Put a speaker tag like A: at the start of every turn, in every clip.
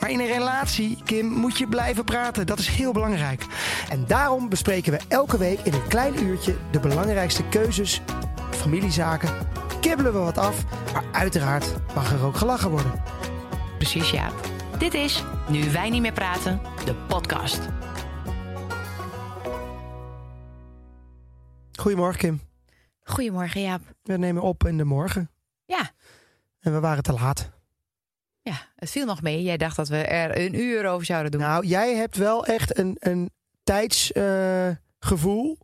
A: Maar in een relatie, Kim, moet je blijven praten. Dat is heel belangrijk.
B: En daarom bespreken we elke week in een klein uurtje de belangrijkste keuzes, familiezaken. Kibbelen we wat af, maar uiteraard mag er ook gelachen worden.
C: Precies, Jaap. Dit is Nu wij niet meer praten, de podcast.
A: Goedemorgen, Kim.
C: Goedemorgen, Jaap.
A: We nemen op in de morgen.
D: Ja.
A: En we waren te laat.
D: Ja, het viel nog mee. Jij dacht dat we er een uur over zouden doen.
A: Nou, jij hebt wel echt een, een tijdsgevoel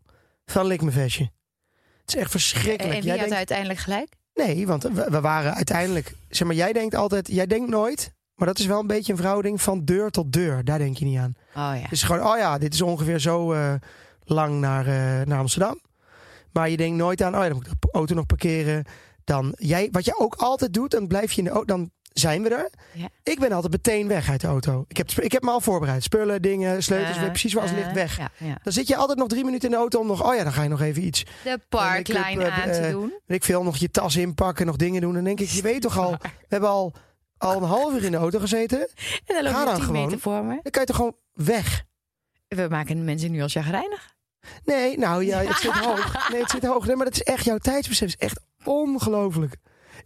A: van likmevestje. Het is echt
D: en
A: verschrikkelijk.
D: wie
A: jij
D: had
A: denkt,
D: uiteindelijk gelijk?
A: Nee, want we, we waren uiteindelijk... Zeg maar, jij denkt altijd... Jij denkt nooit... Maar dat is wel een beetje een verhouding van deur tot deur. Daar denk je niet aan.
D: Oh ja.
A: Het is gewoon, oh ja, dit is ongeveer zo eh, lang naar, eh, naar Amsterdam. Maar je denkt nooit aan, oh ja, dan moet ik de auto nog parkeren. Dan, jij, wat je ook altijd doet, dan blijf je in de auto, dan zijn we er.
D: Ja.
A: Ik ben altijd meteen weg uit de auto. Ik heb, sp- ik heb me al voorbereid. Spullen, dingen, sleutels,
D: Eh,
A: weer precies waar alles
D: eh,
A: ligt, weg.
D: Ja, ja.
A: Dan zit je altijd nog drie minuten in de auto om nog, oh ja, dan ga je nog even iets.
D: De
A: En
D: parklijn
A: ik heb, eh,
D: aan te
A: eh,
D: doen.
A: Weet ik veel, nog je tas inpakken, nog dingen doen. Dan denk ik, je weet toch al, we hebben al, al een half uur in de auto gezeten.
D: En dan loop
A: ga
D: je
A: dan
D: 10
A: gewoon.
D: meter voor me.
A: Dan kan je toch gewoon weg.
D: We maken de mensen nu al chagrijnig.
A: Nee, nou ja, het zit hoog. Nee, het zit hoog. Nee, maar dat is echt, jouw tijdsbesef is echt ongelooflijk.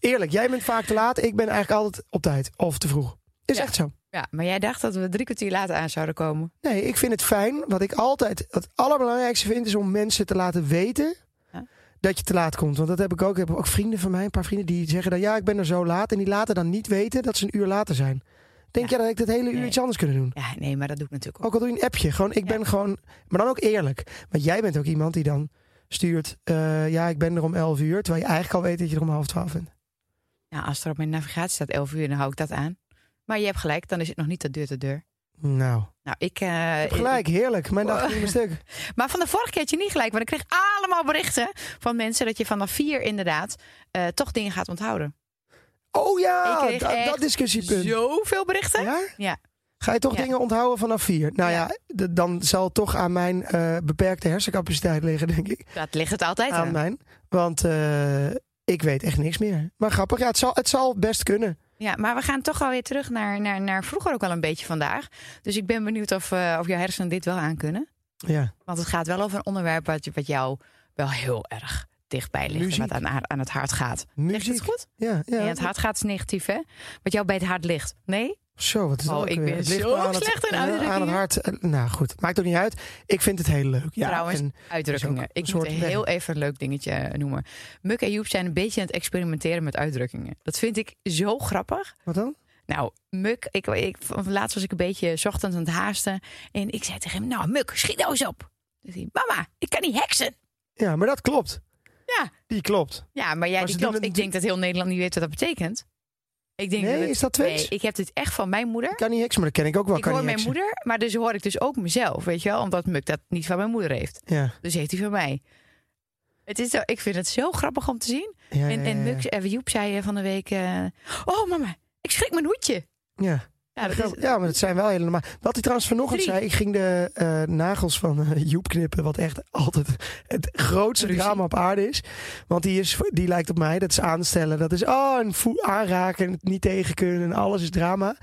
A: Eerlijk, jij bent vaak te laat. Ik ben eigenlijk altijd op tijd of te vroeg. Is
D: Ja.
A: echt zo.
D: Ja, maar jij dacht dat we drie kwartier later aan zouden komen.
A: Nee, ik vind het fijn. Wat ik altijd het allerbelangrijkste vind, is om mensen te laten weten
D: Ja.
A: dat je te laat komt. Want dat heb ik ook. Ik heb ook vrienden van mij, een paar vrienden, die zeggen dan ja, ik ben er zo laat. En die laten dan niet weten dat ze een uur later zijn. Denk jij dat ik dat hele uur
D: Nee.
A: iets anders kunnen doen?
D: Ja, nee, maar dat doe ik natuurlijk ook.
A: Ook al doe je een appje. Gewoon, ik ben gewoon. Maar dan ook eerlijk. Want jij bent ook iemand die dan stuurt. eh, ja, ik ben er om 11 uur. Terwijl je eigenlijk al weet dat je er om half 12 bent.
D: Nou, als er op mijn navigatie staat 11 uur, dan hou ik dat aan. Maar je hebt gelijk, dan is het nog niet de deur te deur.
A: Nou,
D: Nou, ik... eh,
A: gelijk, heerlijk. Mijn dag ging een stuk.
D: Maar van de vorige keer had je niet gelijk. Want ik kreeg allemaal berichten van mensen dat je vanaf vier inderdaad eh, toch dingen gaat onthouden.
A: Oh ja,
D: Ik kreeg
A: da-
D: echt
A: dat discussiepunt.
D: Zoveel berichten?
A: Ja?
D: Ja.
A: Ga je toch
D: Ja.
A: dingen onthouden vanaf vier? Nou ja,
D: Ja.
A: d- dan zal het toch aan mijn eh, beperkte hersencapaciteit liggen, denk ik.
D: Dat ligt het altijd aan.
A: Aan mijn. Want eh, ik weet echt niks meer. Maar grappig, ja, het, zal, het zal best kunnen.
D: Ja, maar we gaan toch alweer terug naar, naar, naar vroeger ook al een beetje vandaag. Dus ik ben benieuwd of, eh, of jouw hersenen dit wel aan kunnen.
A: Ja.
D: Want het gaat wel over een onderwerp wat, je- wat jou wel heel erg dichtbij ligt.
A: Muziek.
D: En wat aan, haar- aan het hart gaat. Ligt
A: Muziek.
D: het goed?
A: Ja, ja.
D: Ja, het hart gaat is negatief, hè? Wat jou bij het hart ligt. Nee?
A: Zo, wat is dat
D: Oh,
A: ook
D: ik
A: weer?
D: ben
A: Het ligt
D: zo
A: maar aan het-
D: slecht in
A: eh, Aan het
D: uitdrukkingen.
A: hart. eh, Nou goed, maakt ook niet uit. Ik vind het heel leuk. Ja,
D: Trouwens,
A: en- is
D: Uitdrukkingen.
A: ook een
D: Ik moet
A: soort
D: heel even een leuk dingetje eh, noemen. Muk en Joep zijn een beetje aan het experimenteren met uitdrukkingen. Dat vind ik zo grappig.
A: wat dan?
D: Nou, Muk, ik, ik, laatst was ik een beetje 's ochtends aan het haasten. En ik zei tegen hem, nou Muk, schiet nou eens op. Dus hij, mama, ik kan niet heksen.
A: Ja, maar dat klopt.
D: Ja.
A: Die klopt.
D: Ja, maar ja,
A: Maar
D: die
A: ze
D: klopt.
A: doen het
D: Ik denk dat heel Nederland niet weet wat dat betekent. Ik denk
A: Nee,
D: dat het-
A: is dat Twents?
D: Nee, ik heb dit echt van mijn moeder.
A: Ik kan niet heks, maar dat ken ik ook wel.
D: Ik
A: Oh, kan
D: hoor
A: niet
D: mijn
A: heksen.
D: moeder, maar dus hoor ik dus ook mezelf, weet je wel. Omdat Muk dat niet van mijn moeder heeft.
A: Ja.
D: Dus heeft hij van mij. Het is, zo- ik vind het zo grappig om te zien.
A: Ja,
D: En,
A: ja,
D: en
A: ja,
D: Muk, eh, Joep zei eh, van de week... eh, oh mama, ik schrik mijn hoedje.
A: Ja.
D: Ja, dat is,
A: ja, maar dat zijn wel hele normaal. Wat hij trouwens vanochtend
D: Drie.
A: zei, ik ging de eh, nagels van eh, Joep knippen, wat echt altijd het grootste
D: Ruzie.
A: drama op aarde is. Want die, is, die lijkt op mij, dat is aanstellen, dat is oh, en voe- aanraken en het niet tegen kunnen en alles is drama.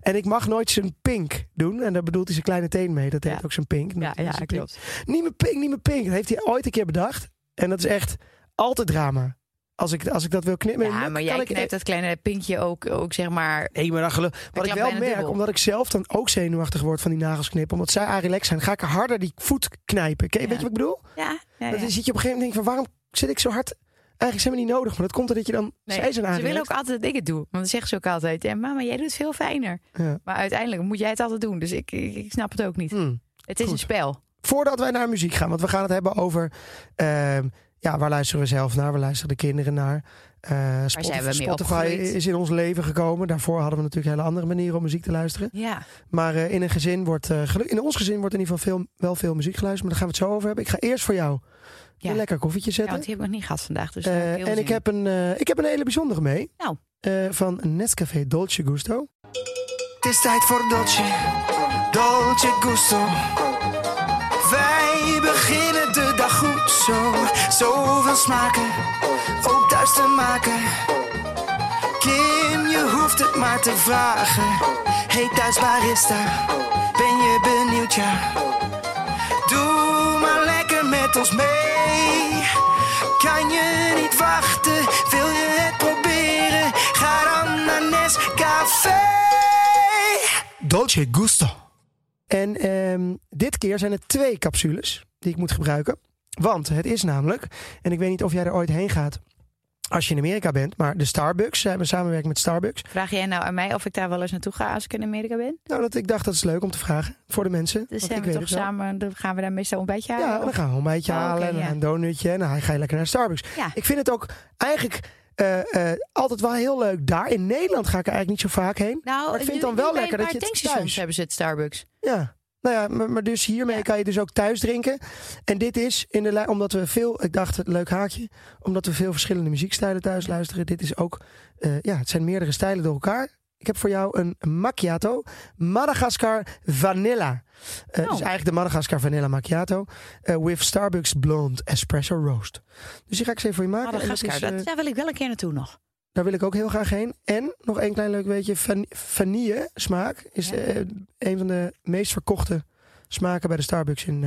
A: En ik mag nooit zijn pink doen en daar bedoelt hij zijn kleine teen mee, dat
D: Ja.
A: heet ook zijn pink.
D: ja,
A: Dat is
D: ja,
A: zijn pink.
D: klopt.
A: Niet mijn pink, niet mijn pink, dat heeft hij ooit een keer bedacht. En dat is echt altijd drama. Als ik, als ik dat wil knippen,
D: Ja, maar
A: kan
D: jij
A: ik
D: knijpt dat kleine pinkje ook, ook zeg maar.
A: Nee, maar dan geloof Wat ik
D: klapt
A: wel
D: bijna
A: merk,
D: dubbel.
A: omdat ik zelf dan ook zenuwachtig word van die nagels knippen. Omdat zij relaxed zijn, ga ik harder die voet knijpen. Ken-
D: Ja.
A: Weet je wat ik bedoel?
D: Ja, ja,
A: Dan
D: ja.
A: zit je op een gegeven moment denk je van waarom zit ik zo hard? Eigenlijk zijn we niet nodig, maar dat komt doordat je dan...
D: Nee,
A: zij zijn
D: ze willen
A: aangelegd.
D: ook altijd dat ik het doe. Want dan zeggen ze ook altijd: ja, Mama, jij doet het veel fijner.
A: Ja.
D: Maar uiteindelijk moet jij het altijd doen. Dus ik, ik, ik snap het ook niet.
A: Hmm.
D: Het is
A: goed.
D: een spel.
A: Voordat wij naar muziek gaan, want we gaan het hebben over... ehm, ja, waar luisteren we zelf naar? Waar luisteren de kinderen naar? Eh, Spotify,
D: zijn we mee
A: Spotify
D: opgegroeid?
A: is in ons leven gekomen. Daarvoor hadden we natuurlijk hele andere manieren om muziek te luisteren.
D: Ja.
A: Maar eh, in een gezin wordt, eh, gelu- in ons gezin wordt in ieder geval veel, wel veel muziek geluisterd. Maar daar gaan we het zo over hebben. Ik ga eerst voor jou
D: Ja.
A: een lekker koffietje
D: ja,
A: zetten.
D: want die heb ik nog niet gehad vandaag. Dus daar
A: Eh,
D: heb heel
A: en
D: zin
A: ik heb, een, eh, ik heb een hele bijzondere mee.
D: Nou.
A: Eh, van Nescafé Dolce Gusto.
E: Het is tijd voor Dolce, Dolce Gusto. Wij beginnen de dag goed zo. Zoveel smaken, ook thuis te maken. Kim, je hoeft het maar te vragen. Hey thuis, waar is daar? Ben je benieuwd, ja? Doe maar lekker met ons mee. Kan je niet wachten? Wil je het proberen? Ga dan naar Nescafé. Dolce Gusto.
A: En ehm, dit keer zijn er twee capsules die ik moet gebruiken. Want het is namelijk, en ik weet niet of jij er ooit heen gaat als je in Amerika bent, maar de Starbucks, zij hebben samenwerking met Starbucks.
D: Vraag jij nou aan mij of ik daar wel eens naartoe ga als ik in Amerika ben?
A: Nou, dat, ik dacht dat is leuk om te vragen voor de mensen. want
D: Dus
A: ik
D: zijn we
A: weet
D: toch
A: het wel.
D: samen, dan gaan we daar meestal een beetje
A: Ja,
D: halen.
A: dan gaan we een ontbijtje
D: Oh, oké,
A: halen en
D: ja.
A: een donutje en dan ga je lekker naar Starbucks.
D: Ja.
A: Ik vind het ook eigenlijk eh, eh, altijd wel heel leuk daar. In Nederland ga ik er eigenlijk niet zo vaak heen.
D: Nou,
A: Maar ik vind
D: nu-
A: dan wel
D: nu bij
A: lekker
D: een
A: dat
D: paar
A: je het
D: tankstations
A: thuis-
D: hebben ze het Starbucks.
A: Ja. Nou ja, maar, maar dus hiermee kan je dus ook thuis drinken. En dit is, in de lijn, omdat we veel, ik dacht, het leuk haakje. Omdat we veel verschillende muziekstijlen thuis luisteren. Dit is ook, eh, ja, het zijn meerdere stijlen door elkaar. Ik heb voor jou een macchiato. Madagascar Vanilla. Eh
D: Oh.
A: Dus eigenlijk de Madagascar Vanilla Macchiato. eh, with Starbucks Blonde Espresso Roast. Dus die ga ik eens even voor je maken. En dat
D: Madagascar,
A: is, eh,
D: dat, daar wil ik wel een keer naartoe nog.
A: daar wil ik ook heel graag heen. En nog één klein leuk weetje. Van, vanille smaak is
D: Ja.
A: eh, een van de meest verkochte smaken bij de Starbucks in,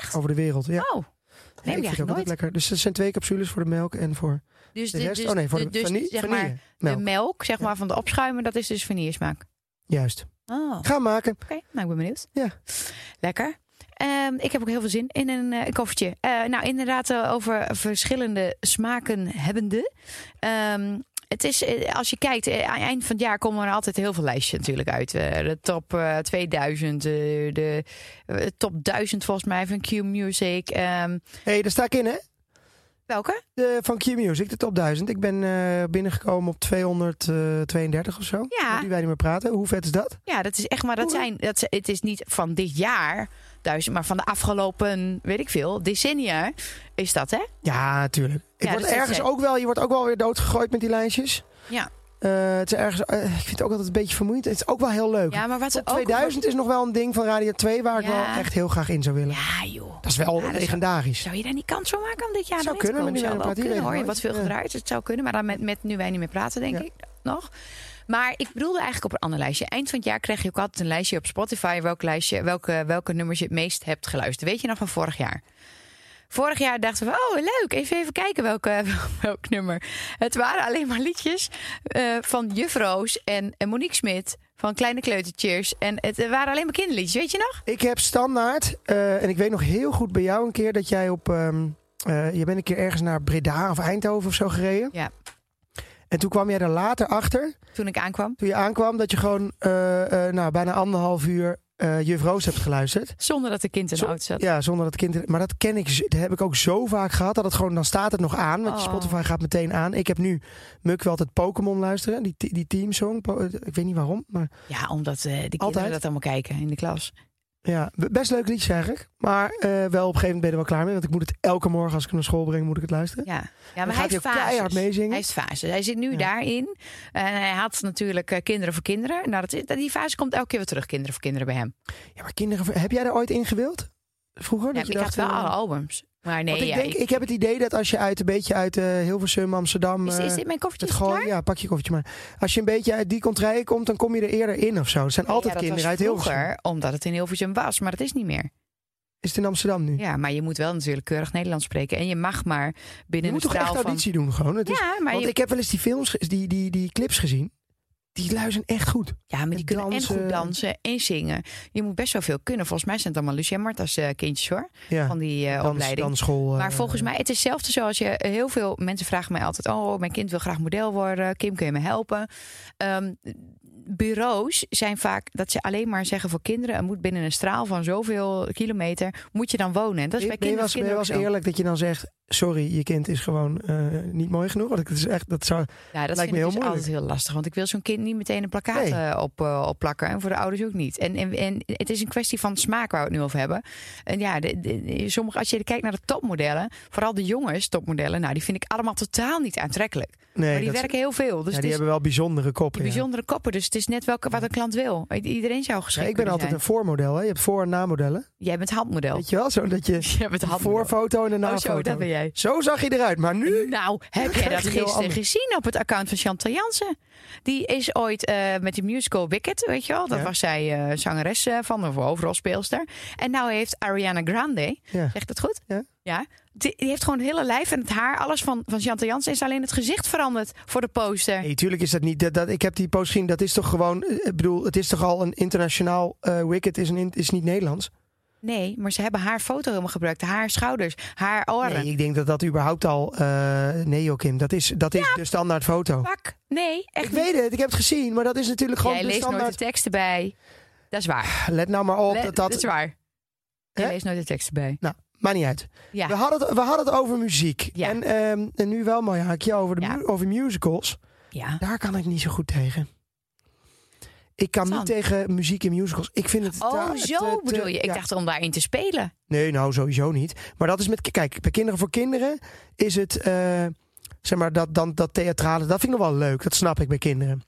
A: eh, over de wereld. Ja. Ja,
D: Oh,
A: ik
D: neem
A: vind
D: je
A: het ook
D: eigenlijk
A: altijd
D: nooit.
A: lekker. Dus er zijn twee capsules voor de melk en voor
D: Dus,
A: de
D: de-
A: rest.
D: dus
A: oh nee, voor de,
D: de- dus
A: vanille.
D: zeg
A: vanille
D: maar,
A: melk.
D: de melk zeg maar, van de opschuimen, dat is dus vanillersmaak.
A: Juist.
D: Oh, oké.
A: Ga maken.
D: Nou, ik ben benieuwd.
A: Ja.
D: Lekker. Ehm, ik heb ook heel veel zin in een, eh, een koffertje. Eh, nou, inderdaad, eh, over verschillende smaken hebbende. Ehm, het is, eh, als je kijkt, eh, aan het eind van het jaar komen er altijd heel veel lijstjes natuurlijk uit. Eh, de top eh, 2000, eh, de eh, top 1000 volgens mij van Q-Music. Ehm,
A: Hé, hey, daar sta ik in hè.
D: welke?
A: De, van Q-Music, de top 1000. Ik ben eh, binnengekomen op 232 of zo.
D: Ja.
A: Die wij niet meer praten. Hoe vet is dat?
D: Ja, dat is echt maar dat zijn. Dat, zijn- het is niet van dit jaar duizend, maar van de afgelopen, weet ik veel, decennia is dat, hè?
A: Ja, tuurlijk. Ik
D: Ja,
A: word
D: dus dat
A: ergens
D: is-
A: ook wel, je wordt ook wel weer doodgegooid met die lijstjes.
D: Ja.
A: Eh, het is ergens, eh, ik vind het ook altijd een beetje vermoeiend. Het is ook wel heel leuk.
D: Ja, maar wat ze ook.
A: 2000 is nog wel een ding van Radio 2 waar ik
D: Ja.
A: wel echt heel graag in zou willen.
D: Ja, joh.
A: Dat is wel
D: dat is-
A: legendarisch.
D: Zou je daar niet kans voor maken om dit jaar
A: Zou
D: erin te komen?
A: kunnen, maar nu
D: zou
A: wij
D: wel
A: niet
D: kunnen,
A: praten,
D: hoor. Je
A: iedereen
D: wordt veel
A: weet. Ja.
D: gedraaid. Het zou kunnen, maar dan met, met nu wij niet meer praten, denk
A: Ja.
D: ik nog. Maar ik bedoelde eigenlijk op een ander lijstje. Eind van het jaar krijg je ook altijd een lijstje op Spotify. Welk lijstje, welke, welke nummers je het meest hebt geluisterd. Weet je nog van vorig jaar? Vorig jaar dachten we, oh leuk, even even kijken welke, welk nummer. Het waren alleen maar liedjes eh, van Juffroos en, en Monique Smit van Kleine Kleutertjes. En het waren alleen maar kinderliedjes, weet je nog?
A: Ik heb standaard, eh, en ik weet nog heel goed bij jou een keer dat jij op. ehm, eh, je bent een keer ergens naar Breda of Eindhoven of zo gereden.
D: Ja.
A: En toen kwam jij er later achter,
D: Toen ik aankwam.
A: toen je aankwam, dat je gewoon eh, eh, nou, bijna anderhalf uur eh Juf Roos hebt geluisterd.
D: Zonder dat de kind in de
A: Zo-
D: auto zat.
A: Ja, zonder dat het kind. er- Maar dat ken ik, z- dat heb ik ook zo vaak gehad. Dat het gewoon, dan staat het nog aan. Want
D: Oh.
A: Spotify gaat meteen aan. Ik heb nu Muk wel altijd Pokémon luisteren. Die, te- die teamsong. Po- eh, Ik weet niet waarom. Maar
D: Ja, omdat eh de kinderen
A: Altijd?
D: dat allemaal kijken in de klas.
A: ja, b- best leuk liedje eigenlijk. Maar eh, wel op een gegeven moment ben je er wel klaar mee. Want ik moet het elke morgen als ik hem naar school breng, moet ik het luisteren.
D: Ja, ja
A: Dan
D: maar
A: gaat
D: hij heeft
A: hij ook keihard
D: fases.
A: meezingen.
D: Hij heeft fases. Hij zit nu
A: Ja.
D: daarin. En hij had natuurlijk eh, kinderen voor kinderen. Nou, dat, is- die fase komt elke keer weer terug, kinderen voor kinderen
A: Oh,
D: bij hem.
A: Ja, maar kinderen, heb jij daar ooit in gewild? Vroeger?
D: Ja,
A: Dat
D: ik
A: je
D: had
A: dacht,
D: wel
A: eh,
D: alle albums. Maar nee,
A: want ik
D: ja,
A: denk,
D: ik-
A: ik heb het idee dat als je uit een beetje uit eh, Hilversum, Amsterdam.
D: is,
A: eh,
D: is dit mijn koffertje
A: Het
D: klaar?
A: gewoon, ja, pak je koffertje maar. Als je een beetje uit die contraien komt, dan kom je er eerder in of zo. Het zijn
D: Nee,
A: altijd
D: ja, dat was
A: kinderen uit Hilversum.
D: vroeger, Omdat het in Hilversum was, maar dat is niet meer.
A: Is het in Amsterdam nu?
D: Ja, maar je moet wel natuurlijk keurig Nederlands spreken. En je mag maar
A: Je
D: binnen
A: moet
D: een
A: toch echt
D: straal van...
A: auditie doen gewoon. Het is,
D: Ja, maar,
A: want
D: je-
A: ik heb wel eens die films, ge- die, die, die clips gezien. Die luisteren echt goed.
D: ja, maar die
A: en
D: kunnen en
A: dansen.
D: goed dansen en zingen. Je moet best wel veel kunnen. Volgens mij zijn het allemaal Lucia en Marta's eh, kindjes hoor.
A: Ja,
D: Van die eh,
A: dans-
D: opleiding.
A: dansschool. eh,
D: Maar volgens mij, het is hetzelfde zoals je... eh, Heel veel mensen vragen mij altijd... Oh, mijn kind wil graag model worden. Kim, kun je me helpen? Ehm, bureaus zijn vaak dat ze alleen maar zeggen voor kinderen... er moet binnen een straal van zoveel kilometer moet je dan wonen. En dat is bij
A: ben je wel
D: kinderen,
A: eens- ben je
D: kinderen
A: wel
D: ook zo.
A: eens eerlijk dat je dan zegt... sorry, je kind is gewoon eh, niet mooi genoeg. Want ik- het is echt, dat zou,
D: Ja, dat vind
A: Lijkt me
D: ik
A: heel
D: dus
A: moeilijk.
D: altijd heel lastig. Want ik wil zo'n kind niet meteen een plakkaat
A: Nee.
D: eh, op, eh, opplakken. En voor de ouders ook niet. En, en, en het is een kwestie van smaak waar we het nu over hebben. En ja, de, de- sommige, als je kijkt naar de topmodellen, vooral de jongens topmodellen, nou, die vind ik allemaal totaal niet aantrekkelijk.
A: nee,
D: maar die
A: dat-
D: werken heel veel. Dus
A: ja,
D: het
A: die
D: is
A: hebben wel bijzondere koppen. ja.
D: bijzondere koppen. Dus het is net welke, wat een klant wil. I- Iedereen zou
A: Ja,
D: geschikt
A: ik ben
D: kunnen
A: altijd
D: zijn. Oh.
A: een voormodel. Hè. Je hebt voor- en namodellen.
D: Jij bent handmodel.
A: Weet je wel? Zo dat je
D: Jij bent
A: een
D: handmodel.
A: voorfoto en een
D: Oh,
A: nafoto.
D: zo, dat ben jij.
A: Zo zag je eruit. Maar nu...
D: Nou, heb jij dat
A: krijg Mm-hmm. je heel
D: gisteren
A: anders.
D: gezien op het account van Chantal Jansen? Die is ooit eh, met die musical Wicked, weet je wel? Dat
A: Ja.
D: was zij eh, zangeres eh, van, of overrolspeelster. En nou heeft Ariana Grande,
A: Ja.
D: zegt dat goed?
A: Ja.
D: Die, die heeft gewoon het hele lijf en het haar, alles van, van Chantal Jansen... is alleen het gezicht veranderd voor de poster.
A: Nee, tuurlijk is dat niet. Dat, dat, ik heb die post gezien. Dat is toch gewoon. eh, Ik bedoel, het is toch al een internationaal. eh Wicked is, een, in- is niet Nederlands.
D: Nee, maar ze hebben haar foto helemaal gebruikt. Haar schouders, haar oren.
A: Nee, ik denk dat dat überhaupt al. eh, nee, joh, Kim. Dat is, dat is de standaard foto.
D: Pak. Nee, echt
A: Ik
D: niet.
A: weet het, ik heb het gezien. Maar dat is natuurlijk gewoon
D: Jij
A: de
D: leest nooit de
A: standaard.
D: teksten bij. Dat is waar.
A: Let nou maar op.
D: Le-
A: dat,
D: dat is
A: dat,
D: waar. Jij
A: Hè?
D: leest nooit de teksten bij.
A: nou, maakt niet uit.
D: Ja.
A: We, hadden het, we hadden het over muziek.
D: Ja.
A: En, ehm, en nu wel een mooi haakje over, de
D: Ja.
A: mu- over musicals.
D: ja.
A: Daar kan ik niet zo goed tegen. Ik kan
D: Wat
A: niet
D: dan?
A: tegen muziek in musicals. Ik vind het
D: Oh,
A: ta-
D: zo
A: te- te-
D: bedoel je. Ik
A: ja.
D: dacht om daarin te spelen.
A: Nee, nou sowieso niet. Maar dat is met. Kijk, bij Kinderen voor Kinderen is het. eh, zeg maar dat, dan, dat theatrale. Dat vind ik nog wel leuk. Dat snap ik bij kinderen.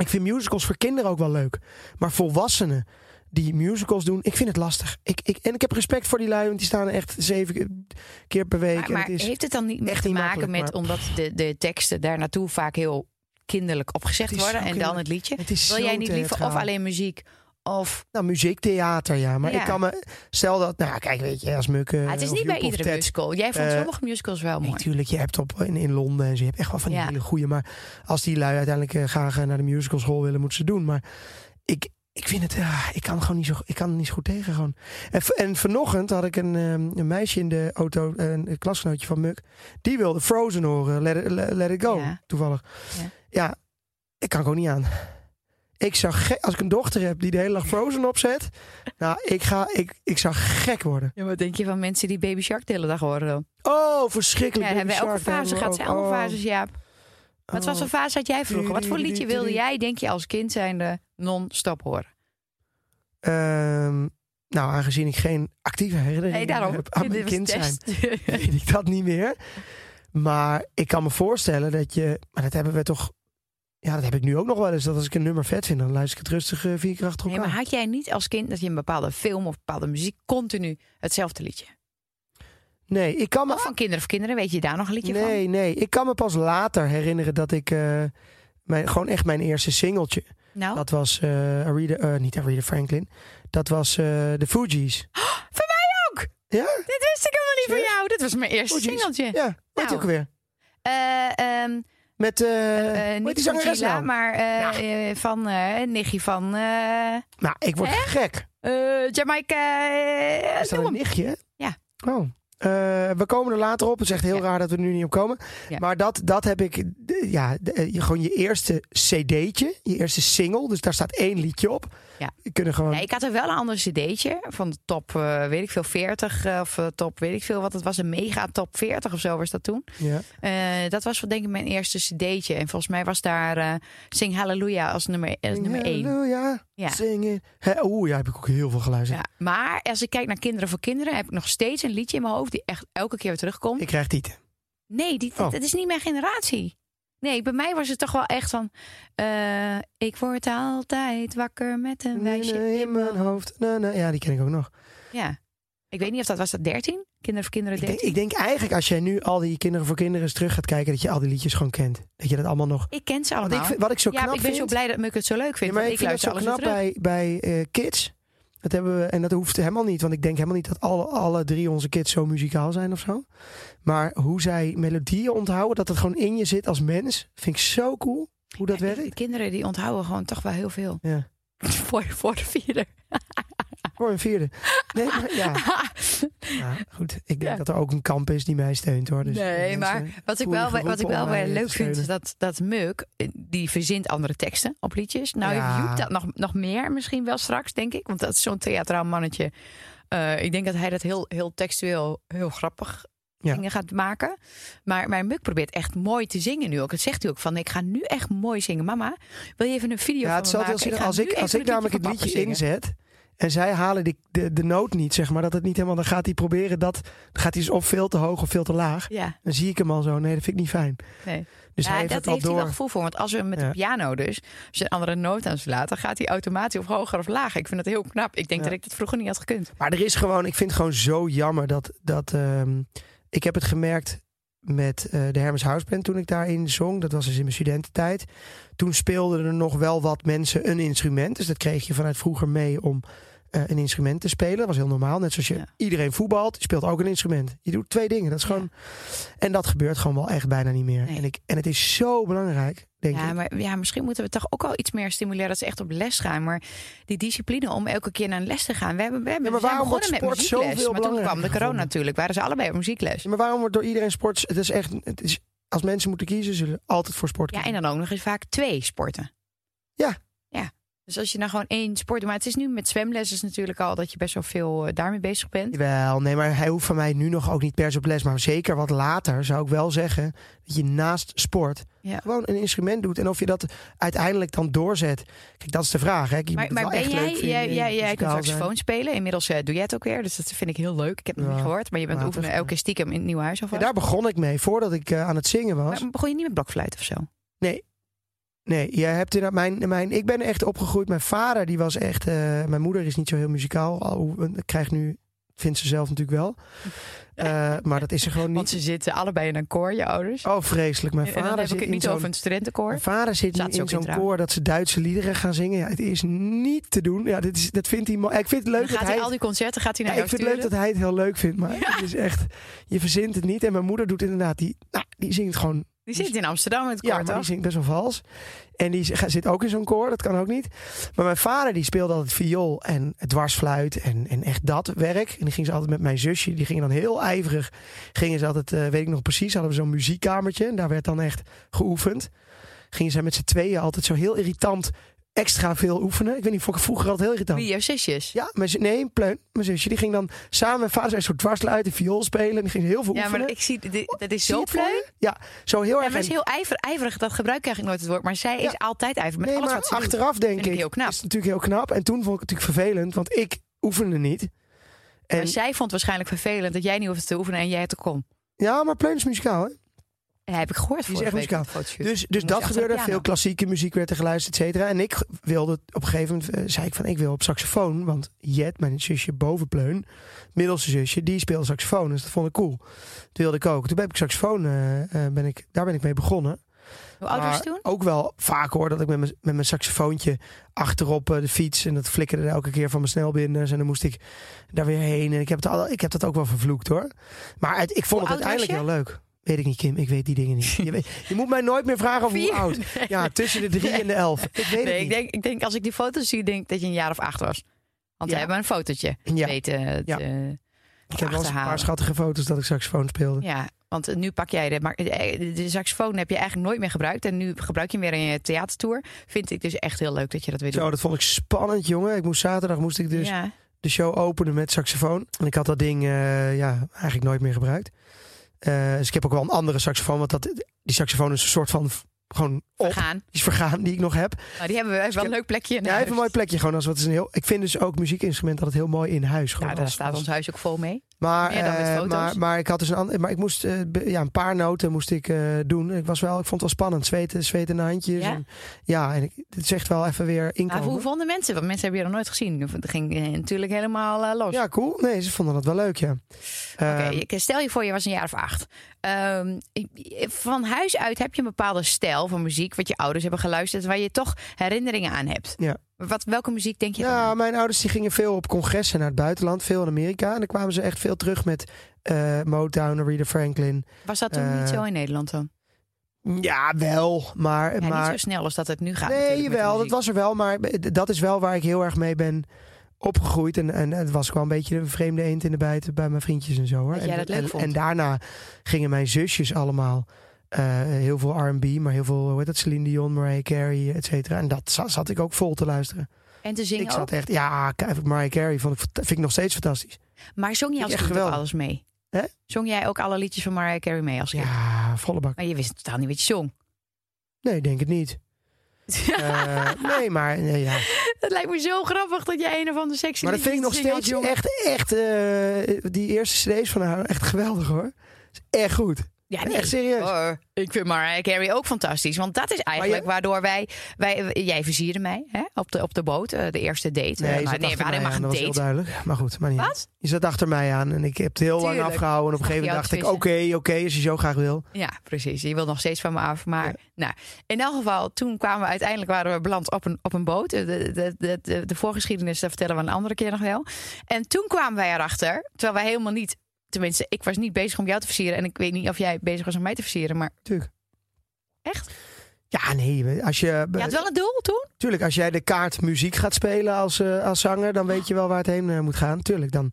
A: Ik vind musicals voor kinderen ook wel leuk. Maar volwassenen die musicals doen, ik vind het lastig. Ik, ik, en ik heb respect voor die lui, want die staan echt zeven keer per week.
D: Maar, maar
A: en het is,
D: heeft het dan niet meer
A: echt
D: te
A: niet
D: maken met...
A: makkelijk,
D: omdat de, de teksten daar naartoe vaak heel kinderlijk opgezegd
A: Het is
D: worden...
A: zo
D: en dan
A: kinderlijk.
D: het liedje?
A: het is
D: Wil
A: zo
D: jij niet liever of
A: theatraal.
D: alleen muziek of...
A: Nou, muziektheater, ja. Maar
D: Ja.
A: ik kan me... Stel dat... Nou, kijk, weet je, als Mukken...
D: Ah, het is
A: of
D: niet bij
A: Joep of
D: iedere
A: Ted-
D: musical. Jij vond
A: Eh,
D: sommige musicals wel mooi.
A: Natuurlijk, je hebt op in, in Londen en ze hebben echt wel van die
D: Ja.
A: hele goede. Maar als die lui uiteindelijk eh, graag eh, naar de musical school willen, moeten ze het doen. Maar ik, ik vind het, ah, ik kan gewoon niet zo, ik kan er niet zo goed tegen gewoon. En, v- en vanochtend had ik een, ehm, een meisje in de auto, eh, een, klasgenootje van Muk, die wilde Frozen horen, Let It, Let- Let It Go,
D: Ja.
A: toevallig.
D: Ja.
A: Ja. ik kan gewoon niet aan. Ik zou gek, als ik een dochter heb die de hele dag Frozen opzet, nou, ik ga, ik, ik zou gek worden.
D: Ja, wat denk je van mensen die Baby Shark de hele dag horen? dan?
A: Oh,
D: Ja,
A: verschrikkelijk.
D: dan hebben we elke
A: Bizar, daar
D: fase.
A: hebben we
D: Gaat ze allemaal
A: oh,
D: fases, Jaap? Wat was
A: oh.
D: een fase had jij vroeger? Wat voor liedje wilde jij, denk je, als kind zijnde non-stop horen?
A: Ehm, nou, aangezien ik geen actieve herinnering
D: Nee, daarom.
A: heb aan mijn
D: Dit was
A: kind zijn,
D: test.
A: weet ik dat niet meer. Maar ik kan me voorstellen dat je... Maar dat hebben we toch... Ja, dat heb ik nu ook nog wel eens. Dat als ik een nummer vet vind, dan luister ik het rustig eh, vier keer achter
D: Nee,
A: elkaar.
D: maar had jij niet als kind dat je een bepaalde film of bepaalde muziek continu hetzelfde liedje?
A: Nee, ik kan me...
D: Of van kinderen of kinderen, Oh, weet je daar nog een liedje van?
A: Oh. nee, nee. Ik kan me pas later herinneren dat ik... eh, mijn, gewoon echt mijn eerste singeltje.
D: Nou,
A: Dat was eh Aretha... eh, niet Aretha Franklin. Dat was eh de Fugees.
D: van mij ook!
A: Ja?
D: Dit wist ik helemaal niet
A: Serieus?
D: van jou. Dit was mijn eerste
A: Oh, jeez.
D: singeltje.
A: Ja, weet
D: Nou.
A: je ook weer.
D: Eh, ehm,
A: Met,
D: eh,
A: eh
D: niet van
A: niet zangeres
D: Gila,
A: nou?
D: maar eh, eh, van eh Nicky van eh,
A: Nou, ik word gek.
D: eh, Jamaica. eh,
A: Is dat
D: noem
A: een
D: hem.
A: nichtje? hè?
D: Ja.
A: Oh. Eh, we komen er later op. Het is echt heel
D: Ja.
A: raar dat we er nu niet op komen.
D: Ja.
A: Maar dat, dat heb ik. d- Ja, d- eh, je- gewoon je eerste cd'tje. Je eerste single. Dus daar staat één liedje op.
D: Ja.
A: Je kunnen gewoon.
D: Nee, ik had er wel een ander cd'tje van de top, eh, weet ik veel, 40 eh, of eh, top, weet ik veel wat. Het was een mega top 40 of zo was dat toen.
A: ja.
D: Eh, dat was wel denk ik mijn eerste cd'tje. En volgens mij was daar eh Sing Hallelujah als nummer, als nummer één.
A: Halleluja,
D: Ja.
A: Zing it. Hè, Oeh, ja, heb ik ook heel veel geluisterd.
D: Ja, maar als ik kijk naar Kinderen voor Kinderen... heb ik nog steeds een liedje in mijn hoofd die echt elke keer weer terugkomt.
A: Ik krijg tieten.
D: Nee, die,
A: Oh.
D: dat is niet mijn generatie. Nee, bij mij was het toch wel echt van... eh, ik word altijd wakker met een wijsje
A: In mijn hoofd. Na, na. Ja, die ken ik ook nog.
D: Ja. Ik weet niet of dat was dat 13? Kinderen voor Kinderen
A: Ik denk,
D: 13?
A: ik denk eigenlijk als jij nu al die Kinderen voor Kinderen eens terug gaat kijken... dat je al die liedjes gewoon kent. Dat je dat allemaal nog...
D: Ik ken ze
A: Want
D: allemaal.
A: ik vind- wat ik zo
D: Nou. ja,
A: knap
D: maar ik ben
A: vind...
D: zo blij dat Muk het zo leuk vindt.
A: Ja, maar
D: want
A: ik
D: ik
A: vind dat
D: luister
A: zo
D: alles weer
A: knap
D: terug.
A: bij, bij eh, kids. Dat hebben we, en dat hoeft helemaal niet. Want ik denk helemaal niet dat alle, alle drie onze kids zo muzikaal zijn of zo. Maar hoe zij melodieën onthouden, dat het gewoon in je zit als mens. Vind ik zo cool hoe dat
D: Ja, ik-
A: werkt.
D: Kinderen die onthouden gewoon toch wel heel veel.
A: Ja.
D: voor, voor de vierder.
A: Voor een vierde. Nee, maar ja. Ja, goed, ik denk
D: Ja.
A: dat er ook een kamp is die mij steunt hoor. Dus
D: nee,
A: mensen-
D: maar wat ik
A: voelen
D: wel,
A: geroepen
D: wat ik
A: om
D: wel
A: mij,
D: weer
A: eh,
D: leuk
A: te
D: vind, is
A: steunen.
D: dat, dat Muk, eh, die verzint andere teksten op liedjes. Nou
A: Ja.
D: heeft Joep dat nog, nog meer misschien wel straks, denk ik. Want dat is zo'n theatraal mannetje. Eh, ik denk dat hij dat heel, heel textueel heel grappig
A: Ja.
D: dingen gaat maken. Maar mijn muk probeert echt mooi te zingen nu ook. Dat zegt hij ook van, ik ga nu echt mooi zingen. Mama, wil je even een video
A: Ja,
D: van
A: het
D: me
A: zal
D: maken?
A: wel zien.
D: ga
A: Als
D: nu
A: ik,
D: even
A: als ik namelijk
D: van
A: het
D: papa
A: liedje
D: zingen.
A: inzet en zij halen die, de, de noot niet, zeg maar, dat het niet helemaal, dan gaat hij proberen dat, dan gaat hij dus of veel te hoog of veel te laag.
D: Ja,
A: Dan zie ik hem al zo, nee, dat vind ik niet fijn.
D: nee.
A: Dus
D: ja
A: hij heeft
D: dat
A: het al
D: heeft hij wel
A: door.
D: gevoel voor. Want als we met
A: Ja.
D: de piano dus, als je een andere noot aan slaat, dan gaat hij automatisch of hoger of lager. Ik vind dat heel knap. Ik denk
A: Ja.
D: dat ik dat vroeger niet had gekund.
A: Maar er is gewoon, ik vind het gewoon zo jammer dat, dat ehm, ik heb het gemerkt met eh, de Hermes Houseband toen ik daarin zong. Dat was dus in mijn studententijd. Toen speelden er nog wel wat mensen een instrument. Dus dat kreeg je vanuit vroeger mee om eh, een instrument te spelen. Dat was heel normaal. Net zoals je
D: Ja.
A: iedereen voetbalt, je speelt ook een instrument. Je doet twee dingen. Dat is gewoon, En dat gebeurt gewoon wel echt bijna niet meer.
D: Nee.
A: En, ik, en het is zo belangrijk, denk
D: Ja,
A: ik.
D: maar ja, misschien moeten we toch ook al iets meer stimuleren dat ze echt op les gaan. Maar die discipline om elke keer naar een les te gaan. We hebben, we hebben
A: Ja, maar
D: we zijn
A: waarom wordt
D: begonnen met
A: sport
D: muziekles.
A: zoveel
D: maar toen kwam de
A: belangrijker
D: corona
A: gevonden?
D: natuurlijk. Waren ze allebei op muziekles.
A: Maar waarom wordt door iedereen sport... Het is echt, het is, als mensen moeten kiezen, zullen ze altijd voor sport
D: Ja,
A: kiezen.
D: en dan ook nog eens vaak twee sporten.
A: Ja.
D: Ja. Dus als je nou gewoon één sport doet. Maar het is nu met zwemlessen natuurlijk al dat je best wel veel eh, daarmee bezig bent.
A: Wel, nee, maar hij hoeft van mij nu nog ook niet per se op les. Maar zeker wat later zou ik wel zeggen dat je naast sport
D: Ja.
A: gewoon een instrument doet. En of je dat uiteindelijk dan doorzet. Kijk, dat is de vraag. Hè. Ik- Je
D: Maar,
A: moet
D: maar
A: wel
D: ben
A: echt
D: jij,
A: leuk vinden
D: jij,
A: in
D: jij, jij kunt
A: muzikaal zijn.
D: saxofoon spelen. Inmiddels eh, doe jij het ook weer. Dus dat vind ik heel leuk. Ik heb het nog
A: Ja,
D: niet gehoord. Maar je bent
A: later.
D: oefenen elke keer stiekem in het nieuwe huis
A: Ja,
D: alvast.
A: daar begon ik mee, voordat ik eh, aan het zingen was.
D: Maar begon je niet met blokfluit of zo?
A: Nee, jij hebt inderdaad mijn, mijn, ik ben echt opgegroeid. Mijn vader, die was echt. eh, mijn moeder is niet zo heel muzikaal. Al, hoe- ik krijg nu, vindt ze zelf natuurlijk wel. Eh, maar dat is er gewoon
D: Want
A: niet.
D: ze zitten allebei in een koor, je ouders.
A: Oh, vreselijk. Mijn
D: en dan
A: vader
D: heb ik
A: zit
D: het
A: in
D: niet
A: zo'n
D: over een studentenkoor.
A: Mijn vader zit nu
D: Zaten ze
A: in
D: ook in
A: zo'n
D: trouw?
A: koor dat ze Duitse liederen gaan zingen. Ja, het is niet te doen. Ja, dit is, dat vindt hij mo- Ik vind het
D: Dan
A: leuk dat
D: gaat
A: hij.
D: hij al die concerten gaat hij
A: Ja,
D: naar
A: ik
D: jou
A: vind het leuk dat
D: sturen.
A: hij het heel leuk vindt, maar het is echt, je verzint het niet. En mijn moeder doet inderdaad, die, nou, die zingt gewoon,
D: Die zit in Amsterdam in het
A: ja,
D: koor,
A: maar die
D: toch?
A: zingt best wel vals. En die z- zit ook in zo'n koor, dat kan ook niet. Maar mijn vader die speelde altijd viool en dwarsfluit en, en echt dat werk. En die ging ze altijd met mijn zusje, die gingen dan heel ijverig, gingen ze altijd, eh, weet ik nog precies, hadden we zo'n muziekkamertje. En daar werd dan echt geoefend. Gingen zij met z'n tweeën altijd zo heel irritant extra veel oefenen. Ik weet niet, vond ik vroeger altijd heel irritant.
D: Wie, jouw zusjes?
A: Ja, mijn, zu- nee, Pleun, mijn zusje, die ging dan samen met vader zijn soort dwarsluit en viool spelen. En die ging heel veel
D: Ja,
A: oefenen.
D: maar ik zie, dit- dat is
A: Zie je
D: zo
A: het voor
D: pleun.
A: je? Ja, zo heel
D: Ja,
A: erg.
D: maar is
A: en-
D: heel ijver, ijverig. Dat gebruik krijg ik nooit het woord. Maar zij is
A: Ja.
D: altijd ijverig met
A: nee,
D: alles
A: maar
D: wat ze doet.
A: achteraf denk
D: Vind
A: ik,
D: ik heel knap.
A: is het natuurlijk heel knap. En toen vond ik het natuurlijk vervelend, want ik oefende niet. En,
D: Maar zij vond waarschijnlijk vervelend dat jij niet hoefde te oefenen en jij het ook kon.
A: ja, maar Pleun is muzikaal, hè?
D: Dat heb ik gehoord
A: Die is
D: vorige
A: echt
D: week.
A: muzikaal.
D: op de fotoshoot.
A: Dus,
D: moest
A: dus dat
D: je
A: gebeurde.
D: achter de piano.
A: Veel klassieke muziek werd er geluisterd, et cetera. En ik wilde op een gegeven moment, eh, zei ik van, ik wil op saxofoon. Want Jet, mijn zusje boven Pleun, middelste zusje, die speelde saxofoon. Dus dat vond ik cool. Dat wilde ik ook. Toen ben ik saxofoon, eh, eh, ben ik, daar ben ik mee begonnen.
D: Hoe oud was je
A: Maar
D: toen?
A: Ook wel vaak hoor, dat ik met mijn, met mijn saxofoontje achterop eh, de fiets... en dat flikkerde er elke keer van mijn snelbinders... en dan moest ik daar weer heen. En ik heb, het al, ik heb dat ook wel vervloekt hoor. Maar het- ik vond
D: Hoe
A: het
D: oud was
A: uiteindelijk heel leuk. Weet ik niet, Kim. Ik weet die dingen niet. Je, weet- je moet mij nooit meer vragen over hoe
D: Vier?
A: oud. Ja, tussen de drie en de elf. Ik weet
D: Nee,
A: het
D: ik
A: niet.
D: denk, ik denk als ik die foto's zie, denk ik dat je een jaar of acht was. Want
A: Ja.
D: we hebben een fotootje.
A: ja,
D: Weten, het,
A: Ja.
D: eh,
A: ik heb wel eens een paar
D: achterhalen.
A: schattige foto's dat ik saxofoon speelde.
D: Ja, want nu pak jij de, maar eh, de saxofoon heb je eigenlijk nooit meer gebruikt. En nu gebruik je hem weer in je theatertour. Vind ik dus echt heel leuk dat je dat weer doet.
A: Zo, dat vond ik spannend, jongen. Ik moest, zaterdag moest ik dus
D: ja.
A: de show openen met saxofoon. En ik had dat ding eh, ja, eigenlijk nooit meer gebruikt. Eh, dus ik heb ook wel een andere saxofoon. Want dat, die saxofoon is een soort van v- gewoon op.
D: We gaan.
A: Die is vergaan, die ik nog heb.
D: Nou, die hebben we even wel een leuk plekje in
A: Ja, hij heeft
D: huis.
A: een mooi plekje gewoon. Als wat is een heel, ik vind dus ook muziekinstrumenten altijd heel mooi in huis. Gewoon
D: Ja, daar
A: als-
D: staat
A: als-
D: ons huis ook vol mee.
A: maar,
D: meer dan met
A: eh,
D: foto's.
A: maar, maar ik had dus een ander, maar ik moest eh, be- ja, een paar noten moest ik eh, doen. Ik was wel, ik vond het wel spannend. Zweten, zweten in de handjes.
D: Ja?
A: En, ja, en ik, het zegt wel even weer
D: Maar
A: inkomen.
D: hoe vonden mensen? Want mensen hebben je nog nooit gezien. Het ging eh, natuurlijk helemaal eh, los.
A: ja, cool. Nee, ze vonden dat wel leuk, ja.
D: Oké,
A: Ehm,
D: ik- stel je voor, je was een jaar of acht. Ehm, van huis uit heb je een bepaalde stijl van muziek... wat je ouders hebben geluisterd... waar je toch herinneringen aan hebt.
A: Ja.
D: Wat, welke muziek denk je dan
A: Ja,
D: aan?
A: mijn ouders die gingen veel op congressen naar het buitenland, veel in Amerika. En dan kwamen ze echt veel terug met eh, Motown, Aretha Franklin.
D: Was dat toen niet
A: eh,
D: zo in Nederland dan?
A: Ja, wel, maar...
D: Ja,
A: maar
D: niet zo snel als dat het nu gaat.
A: nee,
D: natuurlijk, met de
A: jawel, dat
D: muziek.
A: was er wel. Maar eh, dat is wel waar ik heel erg mee ben opgegroeid. En, en het was gewoon een beetje een vreemde eend in de bijt bij mijn vriendjes en zo. Hoor.
D: Dat jij
A: en,
D: dat leuk
A: en,
D: vond.
A: en daarna gingen mijn zusjes allemaal... eh, heel veel R&B, maar heel veel, hoe heet dat, Celine Dion, Mariah Carey, et cetera. En dat za- zat ik ook vol te luisteren.
D: En te
A: Ik
D: zingen ook.
A: zat echt, ja, Mariah Carey vond ik, vind ik nog steeds fantastisch.
D: Maar zong je
A: Ik
D: als
A: echt
D: kind ook
A: geweldig.
D: alles mee?
A: Hè?
D: Zong jij ook alle liedjes van Mariah Carey mee als kind?
A: Ja, volle bak.
D: Maar je wist totaal niet wat je zong.
A: Nee, ik denk het niet. Eh, nee, maar nee, ja.
D: Dat lijkt me zo grappig dat jij een of andere sexy
A: Maar dat vind ik nog
D: liedjes zingt als jong.
A: steeds echt, echt... eh, die eerste cd's van haar, echt geweldig hoor. Is echt goed.
D: Ja, nee.
A: Echt serieus.
D: Hoor, ik vind Mariah Carey ook fantastisch. Want dat is eigenlijk waardoor wij, wij... Jij versierde mij hè, op, de, op de boot, eh, de eerste date. Eh,
A: je
D: maar,
A: zat
D: nee,
A: achter
D: we
A: mij
D: hadden maar
A: aan, dat was heel
D: gedate.
A: duidelijk. Maar goed, maar niet.
D: Wat?
A: uit. Je zat achter mij aan en ik heb het heel lang
D: Tuurlijk.
A: afgehouden. En op
D: Zag
A: een gegeven
D: je
A: moment dacht ik,
D: jou
A: oké, oké, als je zo graag wil.
D: Ja, precies. Je wil nog steeds van me af. Maar nou, in elk geval, toen kwamen we uiteindelijk waren we beland op een, op een boot. De, de, de, de, de voorgeschiedenis, dat vertellen we een andere keer nog wel. En toen kwamen wij erachter, terwijl wij helemaal niet. Tenminste, ik was niet bezig om jou te versieren. En ik weet niet of jij bezig was om mij te versieren. Maar
A: Tuurlijk.
D: Echt?
A: Ja, nee. Als je,
D: je had wel een doel toen?
A: Tuurlijk, als jij de kaart muziek gaat spelen als, eh, als zanger, dan weet je wel waar het heen eh, moet gaan. Tuurlijk, dan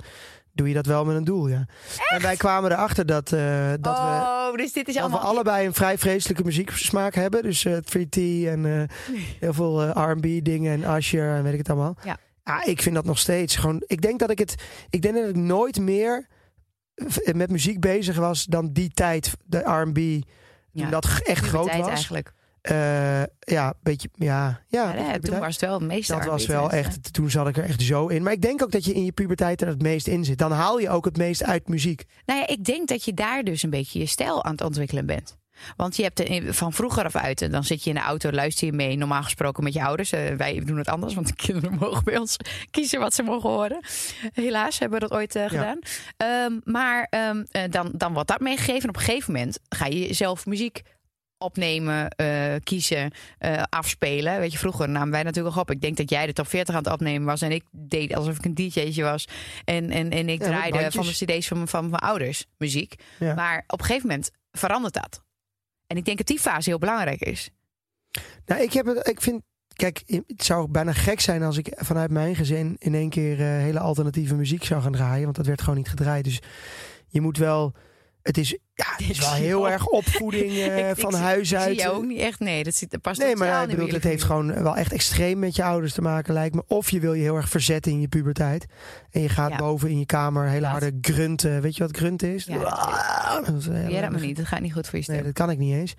A: doe je dat wel met een doel, ja. En wij kwamen erachter dat, eh, dat we
D: oh, dus dit is
A: Dat we
D: allemaal.
A: allebei een vrij vreselijke muzieksmaak hebben. Dus eh 3T en eh, heel veel eh, R&B dingen en Usher en weet ik het allemaal.
D: Ja.
A: ik vind dat nog steeds. Gewoon, ik denk dat ik het. Ik denk dat ik nooit meer v- met muziek bezig was dan die tijd de R&B.
D: Ja,
A: toen dat g- echt groot
D: puberteit
A: was.
D: eigenlijk.
A: Eh, ja, beetje. Ja, ja.
D: Ja,
A: beetje
D: toen
A: puberteit.
D: was het wel het meeste.
A: dat was
D: arbeid,
A: wel
D: dus, hè?
A: echt. Toen zat ik er echt zo in. Maar ik denk ook dat je in je puberteit er het meest in zit. Dan haal je ook het meest uit muziek.
D: Nou ja, ik denk dat je daar dus een beetje je stijl aan het ontwikkelen bent. Want je hebt er van vroeger af uit, en dan zit je in de auto, luister je mee, normaal gesproken met je ouders. Eh, wij doen het anders, want de kinderen mogen bij ons kiezen wat ze mogen horen. Helaas hebben we dat ooit eh, gedaan. Ehm, maar ehm, eh, dan, dan wordt dat meegegeven. Op een gegeven moment ga je zelf muziek opnemen, eh, kiezen, eh, afspelen. Weet je, vroeger namen wij natuurlijk ook op. Ik denk dat jij de top 40 aan het opnemen was en ik deed alsof ik een DJ'tje was. En, en, en ik
A: Ja, met
D: draaide van
A: bandjes.
D: mijn cd's van, mijn- van mijn ouders muziek.
A: Ja.
D: Maar op een gegeven moment verandert dat. En ik denk dat die fase heel belangrijk is.
A: Nou, ik, heb het, ik vind. Kijk, het zou bijna gek zijn als ik vanuit mijn gezin in één keer eh, hele alternatieve muziek zou gaan draaien. Want dat werd gewoon niet gedraaid. Dus je moet wel. Het is, ja, het is wel
D: zie
A: heel
D: jou.
A: erg opvoeding eh,
D: Ik- ik
A: van
D: zie-
A: huis
D: ik
A: uit.
D: Zie je ook niet echt? Nee, dat, zit, dat past
A: eh, nee,
D: totaal
A: maar ik
D: niet
A: bedoel,
D: bij
A: het
D: jullie
A: heeft
D: familie.
A: gewoon wel echt extreem met je ouders te maken, lijkt me. Of je wil je heel erg verzetten in je puberteit. En je gaat
D: Ja.
A: boven in je kamer hele
D: Dat.
A: harde grunten. Weet je wat grunt is? Ah,
D: Ja, dat-
A: dat is heel
D: Ja, dat
A: erg.
D: maar niet. Dat gaat niet goed voor je stem.
A: Nee, dat kan ik niet eens.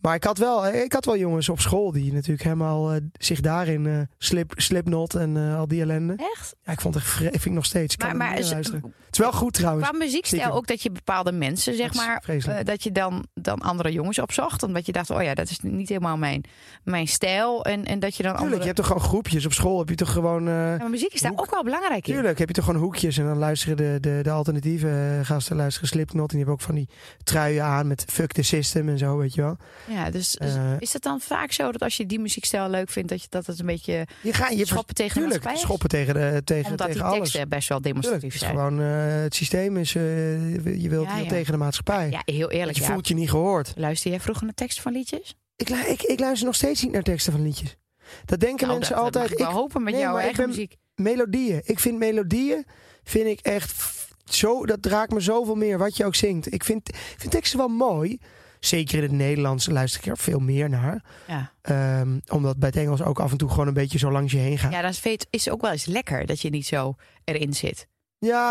A: Maar ik had wel, eh, ik had wel jongens op school die natuurlijk helemaal eh, zich daarin eh slip, slipnot en eh, al die ellende.
D: Echt?
A: Ja, ik vond het echt, vre- vind ik nog steeds. Ik
D: Maar,
A: kan er
D: maar
A: niet
D: is-
A: naar luisteren. Het is wel goed trouwens.
D: qua muziekstijl
A: stiekem.
D: ook dat je bepaalde mensen, zeg
A: Dat is
D: maar,
A: vreselijk.
D: eh, dat je dan, dan andere jongens opzocht. Omdat je dacht, oh ja, dat is niet helemaal mijn, mijn stijl. En, en dat je dan
A: Tuurlijk,
D: andere...
A: je hebt toch gewoon groepjes op school. Heb je toch gewoon. eh,
D: Ja, maar muziek is daar
A: Hoek.
D: ook wel belangrijk in.
A: Tuurlijk, heb je toch gewoon hoekjes en dan luisteren de, de, de alternatieve eh, gasten luisteren Slipknot. En die hebben ook van die truien aan met fuck the system en zo, weet je wel.
D: Ja, dus dus
A: Eh,
D: is het dan vaak zo dat als je die muziekstijl leuk vindt, dat je dat het een beetje
A: je gaat je
D: schoppen tegen de
A: tuurlijk,
D: maatschappij is?
A: schoppen tegen, de, eh, tegen,
D: Omdat
A: tegen
D: die
A: alles.
D: teksten best wel
A: Tuurlijk, het
D: demonstratief
A: is
D: zijn.
A: gewoon eh, het systeem is, eh, je wilt
D: Ja,
A: heel
D: ja.
A: tegen de maatschappij.
D: Ja, heel eerlijk.
A: je
D: ja.
A: voelt je niet gehoord.
D: Luister jij vroeger naar teksten van liedjes?
A: Ik, lu- ik, ik luister nog steeds niet naar teksten van liedjes. Dat denken
D: Nou,
A: mensen
D: dat, dat
A: altijd.
D: mag ik wel
A: ik,
D: hopen met
A: nee,
D: jouw
A: maar ik
D: eigen
A: ben-
D: muziek.
A: melodieën. Ik vind melodieën vind ik echt f- zo. Dat raakt me zoveel meer wat je ook zingt. Ik vind, ik vind teksten wel mooi. Zeker in het Nederlands luister ik er veel meer naar.
D: Ja.
A: Ehm, omdat bij het Engels ook af en toe gewoon een beetje zo langs je heen gaat. Ja,
D: ja, dan is het- is het ook wel eens lekker dat je niet zo erin zit.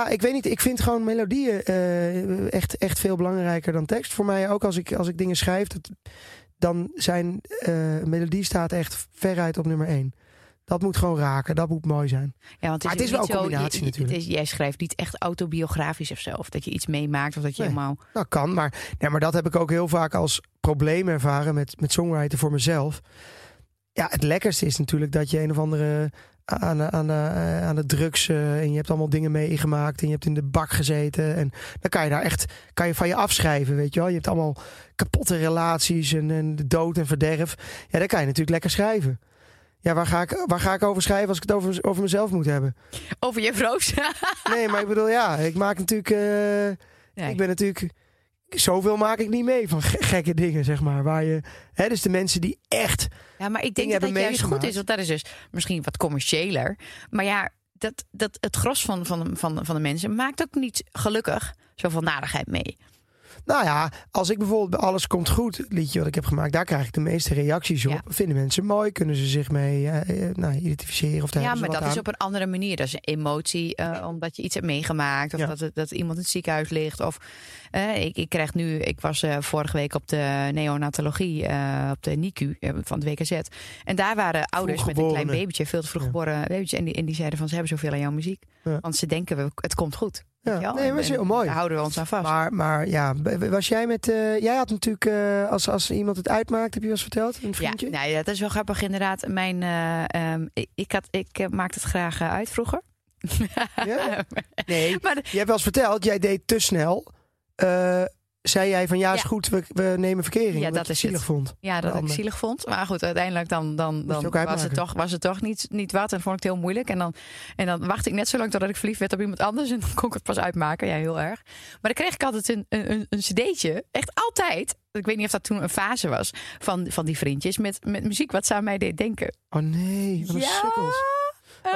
A: ik weet niet. Ik vind gewoon melodieën eh, echt, echt veel belangrijker dan tekst. Voor mij ook als ik, als ik dingen schrijf, dat, dan zijn eh, melodie staat echt veruit op nummer één. Dat moet gewoon raken. Dat moet mooi zijn.
D: Ja, want
A: Maar het is
D: ook
A: wel
D: niet
A: een
D: zo-
A: combinatie
D: je- je- het
A: natuurlijk.
D: is- jij schrijft niet echt autobiografisch of zo. Of dat je iets meemaakt of dat je
A: Nee.
D: helemaal...
A: Nou, kan, maar, nee, maar dat heb ik ook heel vaak als probleem ervaren met, met songwriter voor mezelf. Ja, het lekkerste is natuurlijk dat je een of andere aan de, aan de, eh, aan de drugs eh, en je hebt allemaal dingen meegemaakt en je hebt in de bak gezeten en dan kan je daar echt kan je van je afschrijven, weet je wel. Je hebt allemaal kapotte relaties en, en de dood en verderf. Ja, daar kan je natuurlijk lekker schrijven. Ja, waar ga ik, waar ga ik over schrijven als ik het over, over mezelf moet hebben?
D: Over je vroos.
A: Nee, maar ik bedoel, ja, ik maak natuurlijk... eh,
D: Nee.
A: ik ben natuurlijk. Zoveel maak ik niet mee van ge- gekke dingen, zeg maar. Waar je, hè, dus de mensen die echt.
D: Ja, maar ik denk
A: Dingen
D: dat
A: hebben
D: dat juist goed
A: meegemaakt.
D: is. Want dat is dus misschien wat commerciëler. Maar ja, dat, dat, het gros van, van, van, van de mensen maakt ook niet gelukkig zoveel narigheid mee.
A: Nou ja, als ik bijvoorbeeld bij Alles Komt Goed, het liedje wat ik heb gemaakt, daar krijg ik de meeste reacties op.
D: Ja.
A: Vinden mensen mooi? Kunnen ze zich mee eh, eh, nou, identificeren? Of daar
D: Ja,
A: hebben ze
D: maar dat
A: wat
D: is
A: aan?
D: op een andere manier. Dat is een emotie, eh, omdat je iets hebt meegemaakt. Of
A: Ja.
D: dat, het- dat iemand in het ziekenhuis ligt. Of eh, ik, ik krijg nu, ik was eh, vorige week op de neonatologie, eh, op de NICU eh, van het WKZ. En daar waren ouders met een klein
A: Vroeggeborenen.
D: babytje, veel te vroeg
A: Ja.
D: geboren babytje. En die, en die zeiden van ze hebben zoveel aan jouw muziek.
A: Ja.
D: Want ze denken, we, het komt goed.
A: Ja.
D: Weet je wel?
A: Nee, maar dat is
D: En- en
A: heel mooi.
D: Daar houden we ons aan vast.
A: Maar, maar ja, b- was jij met. eh, jij had natuurlijk, eh, als, als iemand het uitmaakt, heb je wel eens verteld? Een
D: ja,
A: vriendje?
D: nou ja, dat is wel grappig inderdaad. Mijn, eh, ehm, ik, ik, had, ik eh, maakte het graag eh, uit vroeger.
A: Ja? Nee.
D: Maar de-
A: Je hebt wel eens verteld, jij deed te snel. Eh, zei jij van ja, is
D: Ja.
A: goed, we, we nemen verkering.
D: Ja,
A: omdat
D: dat
A: je
D: is
A: het zielig
D: het.
A: vond.
D: Ja, dat ik
A: Ander.
D: zielig vond. Maar goed, uiteindelijk dan, dan,
A: je het
D: dan
A: ook
D: was, het
A: uitmaken.
D: toch, was het toch niet, niet wat. En vond ik het heel moeilijk. En dan, en dan wachtte ik net zo lang totdat ik verliefd werd op iemand anders. En dan kon ik het pas uitmaken. Ja, heel erg. Maar dan kreeg ik altijd een, een, een- een cd'tje. Echt altijd. Ik weet niet of dat toen een fase was. Van, van die vriendjes. Met, met muziek wat ze aan mij deed denken.
A: Oh nee, wat een
D: Ja,
A: sukkels.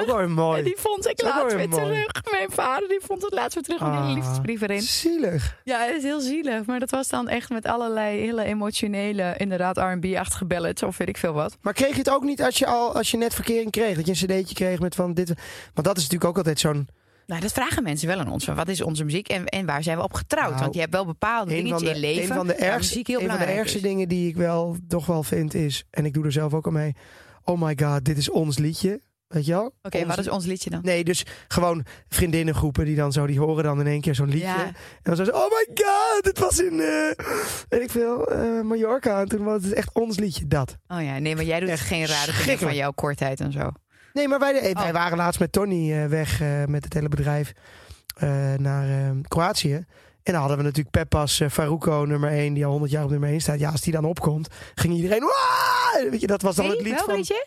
A: Ook wel weer
D: En
A: mooi.
D: die vond ik
A: Dat is ook
D: laatst
A: wel
D: weer
A: weer mooi.
D: terug. Mijn vader die vond het laatst weer terug. Met
A: Ah.
D: een liefdesbrief erin.
A: Zielig.
D: Ja, het is heel zielig. Maar dat was dan echt met allerlei hele emotionele, inderdaad R&B-achtige ballads. Of weet ik veel wat.
A: Maar kreeg je het ook niet als je, al, als je net verkering kreeg? Dat je een cd'tje kreeg met van dit. Want dat is natuurlijk ook altijd zo'n.
D: Nou, dat vragen mensen wel aan ons. Van wat is onze muziek en, en waar zijn we op getrouwd?
A: Nou,
D: Want je hebt wel bepaalde
A: Een
D: dingen
A: van,
D: in je
A: de,
D: leven.
A: een van de
D: waar
A: ergste,
D: muziek heel
A: een van de
D: belangrijk
A: ergste
D: is.
A: dingen die ik wel toch wel vind is. En ik doe er zelf ook aan mee. Oh my god, dit is ons liedje. Weet je wel?
D: Oké,
A: Ons-
D: wat is ons liedje dan?
A: Nee, dus gewoon vriendinnengroepen die dan zo, die horen dan in één keer zo'n liedje.
D: Ja.
A: En dan zo, oh my god, dit was in, eh weet ik veel, eh, Mallorca. En toen was het echt ons liedje, dat.
D: Oh ja, nee, maar jij doet
A: Echt
D: geen rare dingen van
A: schrikkelijk.
D: jouw kortheid en zo.
A: Nee, maar wij, eh, wij
D: Oh.
A: waren laatst met Tony eh, weg eh, met het hele bedrijf eh, naar eh, Kroatië. En dan hadden we natuurlijk Peppas eh, Faruko nummer 1, die al 100 jaar op nummer 1 staat. Ja, als die dan opkomt, ging iedereen... "Waa!" Weet je, dat was dan het lied
D: wel,
A: van...
D: weet je?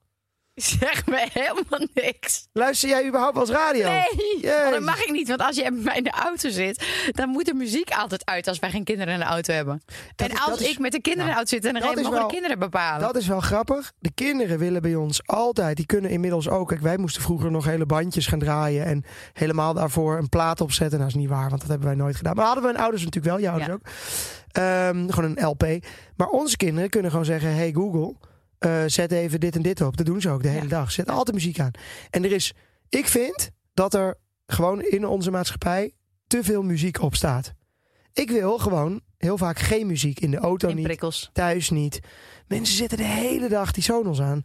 D: Zeg me helemaal niks.
A: Luister jij überhaupt als radio?
D: Nee,
A: Jezus.
D: want dat mag ik niet. Want als jij met mij in de auto zit, dan moet de muziek altijd uit als wij geen kinderen in de auto hebben. en
A: is-
D: als
A: dat is-
D: ik met de kinderen in de
A: Nou,
D: auto zit, dan
A: dat
D: mogen
A: is
D: de
A: wel-
D: kinderen bepalen.
A: Dat is wel grappig. De kinderen willen bij ons altijd. Die kunnen inmiddels ook. Kijk, wij moesten vroeger nog hele bandjes gaan draaien. En helemaal daarvoor een plaat opzetten. Nou, is niet waar, want dat hebben wij nooit gedaan. Maar hadden we mijn ouders natuurlijk wel, jouw ouders
D: Ja.
A: ook. Ehm, gewoon een LP. Maar onze kinderen kunnen gewoon zeggen: Hey Google, eh, zet even dit en dit op. Dat doen ze ook de hele
D: Ja.
A: dag. Zet altijd muziek aan. En er is, ik vind dat er gewoon in onze maatschappij te veel muziek op staat. Ik wil gewoon heel vaak geen muziek in de auto
D: in
A: niet
D: prikkels.
A: thuis niet. Mensen zitten de hele dag die Sonos aan.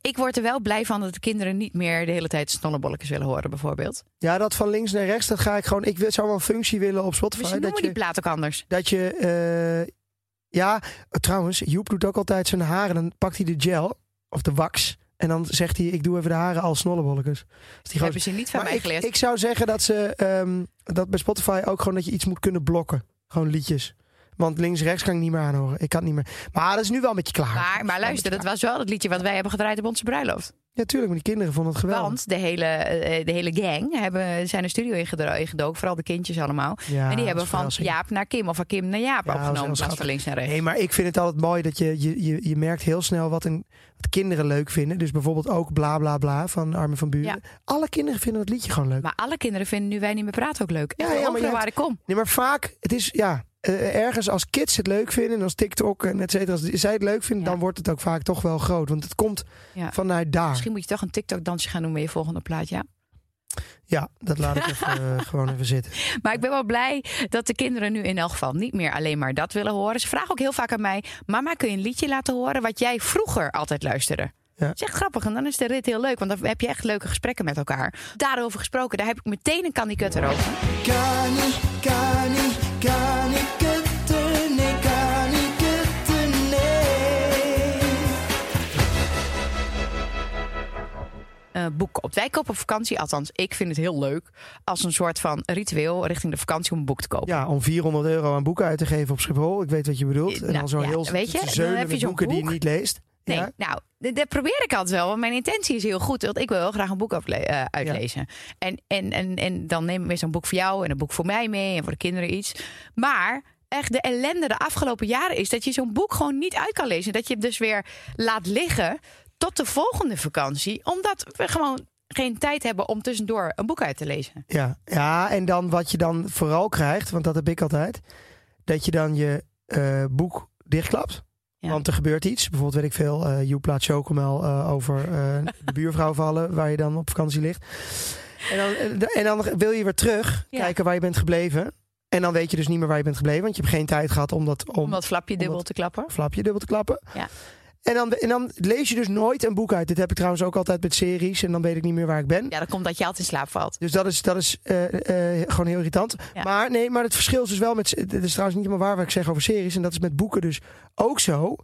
D: Ik word er wel blij van dat de kinderen niet meer de hele tijd snollebolletjes willen horen, bijvoorbeeld.
A: Ja, dat van links naar rechts, dat ga ik gewoon... Ik wil- zou wel een functie willen op
D: Dus
A: Spotify.
D: noemen
A: Dat
D: die
A: je,
D: plaat ook anders.
A: dat je... eh, ja, trouwens, Joep doet ook altijd zijn haren. Dan pakt hij de gel, of de wax... En dan zegt hij, ik doe even de haren als snollebollekes. Als die
D: hebben ze niet van
A: Maar
D: mij
A: ik,
D: geleerd.
A: ik zou zeggen dat ze ehm, dat bij Spotify ook gewoon dat je iets moet kunnen blokken. Gewoon liedjes. Want links-rechts kan ik niet meer aanhoren. Ik kan het niet meer. Maar dat is nu wel met je klaar.
D: maar, maar luister, dat was wel het liedje wat wij hebben gedraaid op onze bruiloft.
A: Ja, tuurlijk, maar die kinderen vonden het geweldig.
D: Want de hele, eh, de hele gang hebben, zijn de studio ingedro- ingedoken. Vooral de kindjes allemaal.
A: Ja,
D: en die
A: dat
D: hebben
A: is
D: van
A: verrassing.
D: Jaap naar Kim of van Kim naar Jaap
A: Ja, dat is
D: opgenomen.
A: heel
D: In plaats van
A: schattig.
D: links naar rechts.
A: Nee, maar ik vind het altijd mooi dat je, je, je, je merkt heel snel wat, een, wat kinderen leuk vinden. Dus bijvoorbeeld ook Bla Bla Bla van Armin van Buren. Alle kinderen vinden dat liedje gewoon leuk.
D: Maar alle kinderen vinden nu wij niet meer praten ook leuk.
A: Ja,
D: Echt,
A: ja, maar je
D: overal
A: hebt- Ah.
D: waar ik kom.
A: Nee, maar vaak, het is ja, eh, ergens als kids het leuk vinden en als TikTok en et cetera, als zij het leuk vinden,
D: Ja.
A: dan wordt het ook vaak toch wel groot. Want het komt
D: Ja.
A: vanuit daar.
D: Misschien moet je toch een TikTok-dansje gaan doen met je volgende plaat, ja.
A: Ja, dat laat ik even, eh, gewoon even zitten.
D: Maar ik ben wel blij dat de kinderen nu in elk geval niet meer alleen maar dat willen horen. Ze vragen ook heel vaak aan mij: Mama, kun je een liedje laten horen wat jij vroeger altijd luisterde?
A: Ja.
D: Dat is echt grappig. En dan is de rit heel leuk, want dan heb je echt leuke gesprekken met elkaar. Daarover gesproken, daar heb ik meteen een kan die kut erover.
E: Kan ik, kan ik, kan ik het er, nee, kan ik het er, nee.
D: eh, boeken op. Wij kopen op vakantie, althans, ik vind het heel leuk als een soort van ritueel richting de vakantie om een boek te kopen.
A: Ja, om 400 euro aan boeken uit te geven op Schiphol. Ik weet wat je bedoelt. En
D: Nou,
A: dan zo
D: ja,
A: heel
D: weet je,
A: te
D: dan
A: zeulen
D: heb je
A: met
D: zo'n
A: boeken die je
D: boek.
A: niet leest.
D: Nee,
A: Ja.
D: nou, d- dat probeer ik altijd wel. Want mijn intentie is heel goed. Want ik wil heel graag een boek afle- eh, uitlezen. En, en, en, en dan neem ik weer zo'n boek voor jou en een boek voor mij mee. En voor de kinderen iets. Maar echt de ellende de afgelopen jaren is... dat je zo'n boek gewoon niet uit kan lezen. Dat je het dus weer laat liggen tot de volgende vakantie. Omdat we gewoon geen tijd hebben om tussendoor een boek uit te lezen.
A: Ja. ja, en dan wat je dan vooral krijgt, want dat heb ik altijd, dat je dan je eh, boek dichtklapt.
D: Ja.
A: Want er gebeurt iets. Bijvoorbeeld, weet ik veel, eh Joeplaat Chocomel eh, over eh, de buurvrouw vallen, waar je dan op vakantie ligt. En dan, eh, en dan wil je weer terug
D: Ja.
A: kijken waar je bent gebleven. En dan weet je dus niet meer waar je bent gebleven, want je hebt geen tijd gehad om dat om
D: Om dat flapje dubbel
A: dat-
D: te klappen.
A: flapje dubbel te klappen.
D: Ja.
A: En, dan, en dan lees je dus nooit een boek uit. Dit heb ik trouwens ook altijd met series en dan weet ik niet meer waar ik ben.
D: Ja, dat komt dat je altijd in slaap valt.
A: Dus dat is, dat is eh, eh, gewoon heel irritant.
D: Ja.
A: Maar nee, maar het verschil is dus wel met. Het is trouwens niet helemaal waar wat ik zeg over series. En dat is met boeken dus ook zo.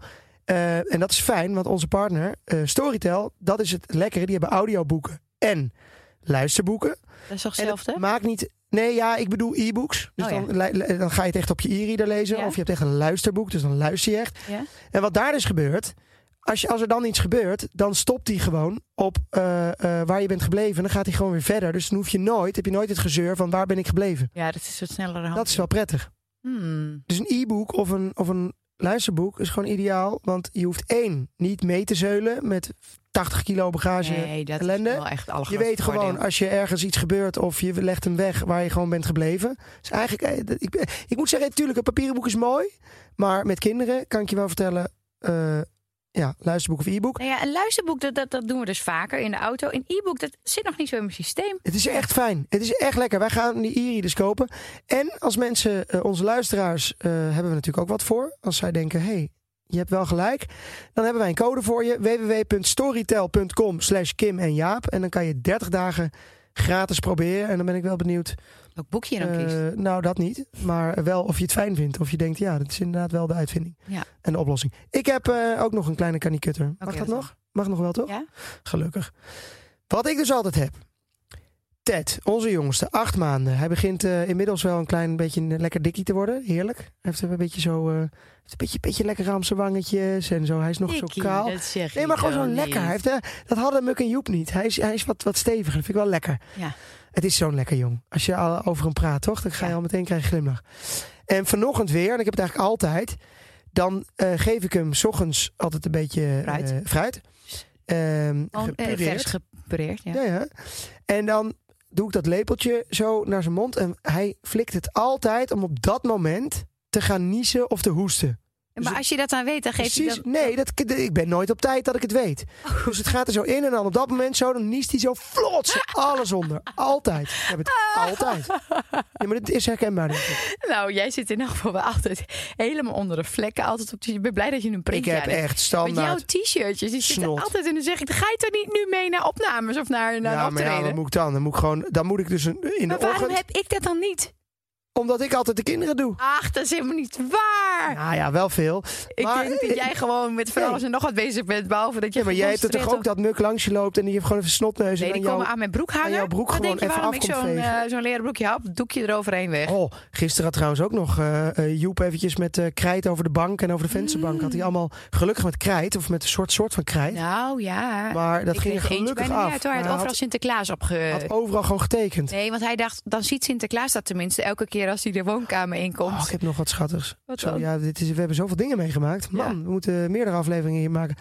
A: Eh, en dat is fijn, want onze partner, eh, Storytel, dat is het lekkere. Die hebben audioboeken en luisterboeken.
D: Dat is toch
A: En het
D: hetzelfde?
A: maakt niet. Nee, ja, ik bedoel e-books. Dus
D: Oh, ja.
A: dan, li- li- dan ga je het echt op je e-reader lezen.
D: Ja.
A: Of je hebt echt een luisterboek, dus dan luister je echt.
D: Ja.
A: En wat daar dus gebeurt. Als, je, als er dan iets gebeurt, dan stopt hij gewoon op eh, eh, waar je bent gebleven. En dan gaat hij gewoon weer verder. Dus dan hoef je nooit, heb je nooit het gezeur van waar ben ik gebleven.
D: Ja, dat is wat sneller hand.
A: Dat is wel prettig.
D: Hmm.
A: Dus een e-book of een, of een luisterboek is gewoon ideaal. Want je hoeft één, niet mee te zeulen met 80 kilo bagage.
D: Nee, dat
A: ellende.
D: is wel echt alle
A: Je weet gewoon, als je ergens iets gebeurt of je legt hem weg waar je gewoon bent gebleven. Dus eigenlijk, eh, dat- ik, ben- ik moet zeggen, natuurlijk, een papieren boek is mooi. Maar met kinderen kan ik je wel vertellen, eh, ja, luisterboek of e-book.
D: Nou ja, een luisterboek, dat, dat, dat doen we dus vaker in de auto. Een e-book, dat zit nog niet zo in mijn systeem.
A: Het is echt fijn. Het is echt lekker. Wij gaan die Iri dus kopen. En als mensen, eh, onze luisteraars, eh, hebben we natuurlijk ook wat voor. Als zij denken, hé, hey, je hebt wel gelijk. Dan hebben wij een code voor je. www.storytel.com slash Kim en Jaap. En dan kan je 30 dagen gratis proberen. En dan ben ik wel benieuwd.
D: Welk boekje je dan
A: eh,
D: kiest.
A: nou, dat niet. Maar wel of je het fijn vindt. Of je denkt, ja, dat is inderdaad wel de uitvinding.
D: Ja.
A: En de oplossing. Ik heb eh, ook nog een kleine kanikutter. Mag
D: Oké,
A: dat
D: wat
A: nog? Mag nog wel, toch?
D: Ja?
A: Gelukkig. Wat ik dus altijd heb. Ted, onze jongste, acht maanden. Hij begint eh, inmiddels wel een klein beetje een lekker dikkie te worden. Heerlijk. Hij heeft een beetje zo. eh, heeft een beetje, beetje lekker raamse wangetjes en zo. Hij is nog zo kaal.
D: dat zeg
A: Nee,
D: je
A: maar gewoon
D: toch
A: zo lekker. Hij
D: niet.
A: heeft, eh, dat hadden Muk en Joep niet. Hij is, hij is wat, wat steviger. Dat vind ik wel lekker.
D: Ja.
A: Het is zo'n lekker jong. Als je al over hem praat, toch? Dan ga je
D: Ja.
A: al meteen krijgen glimlach. En vanochtend weer, en ik heb het eigenlijk altijd... dan eh, geef ik hem 's ochtends altijd een beetje
D: Fruit.
A: eh, fruit. Ehm,
D: Gewoon eh,
A: gepureerd.
D: vers gepureerd, ja.
A: Ja, ja. En dan doe ik dat lepeltje zo naar zijn mond. En hij flikt het altijd om op dat moment te gaan niezen of te hoesten.
D: Maar als je dat dan weet, dan geef je
A: dus Precies.
D: dat... Oh.
A: Nee, dat, ik ben nooit op tijd dat ik het weet. Dus het gaat er zo in en dan op dat moment zo, dan niest hij zo flots alles onder. Altijd. Ik heb het
D: Oh.
A: altijd. Ja, maar dit is herkenbaar. denk ik.
D: Nou, jij zit in elk geval wel altijd helemaal onder de vlekken. Altijd op de... Ik ben blij dat je een
A: Ik
D: printje
A: heb
D: aan hebt.
A: echt
D: Want jouw
A: standaard.
D: t-shirtjes, die zitten
A: Snot.
D: altijd in. Dan zeg ik, ga je toch niet nu mee naar opnames of naar, naar
A: Ja,
D: een
A: maar ja,
D: optreden?
A: wat moet ik dan? Dan moet ik gewoon, dan moet ik dus een, in de
D: maar waarom
A: ochtend,
D: heb ik dat dan niet?
A: omdat ik altijd de kinderen doe.
D: Ach, dat is helemaal niet waar.
A: Nou ja, wel veel.
D: ik
A: maar- eh,
D: denk dat jij gewoon met van
A: Nee.
D: alles en nog wat bezig bent. Behalve dat je
A: Ja, maar jij hebt het toch
D: geconcentreerd
A: ook dat muk langs je loopt en die heeft gewoon even snotneus
D: Nee,
A: en
D: die
A: dan jouw
D: komen aan mijn broek hangen.
A: aan jouw broek
D: Dan
A: gewoon
D: denk je
A: even
D: waarom
A: af
D: ik
A: komt
D: zo'n
A: vegen.
D: eh, zo'n leren broekje hap, doekje eroverheen weg.
A: Oh, gisteren had trouwens ook nog eh, eh, Joep eventjes met eh, krijt over de bank en over de vensterbank. Had hij allemaal gelukkig met krijt of met een soort soort van krijt.
D: Nou Mm. ja,
A: maar dat
D: ik
A: ging er
D: weet eentje
A: gelukkig
D: bijna
A: af.
D: niet uit hoor. Hij
A: Maar
D: had
A: hij
D: overal Sinterklaas
A: had,
D: opge...
A: had overal gewoon getekend.
D: Nee, want hij dacht, dan ziet Sinterklaas dat tenminste elke keer als hij de woonkamer inkomt.
A: Oh, ik heb nog wat schattigs.
D: Wat
A: Zo,
D: dan?
A: ja, dit is, we hebben zoveel dingen meegemaakt. Man, we moeten meerdere afleveringen hier maken.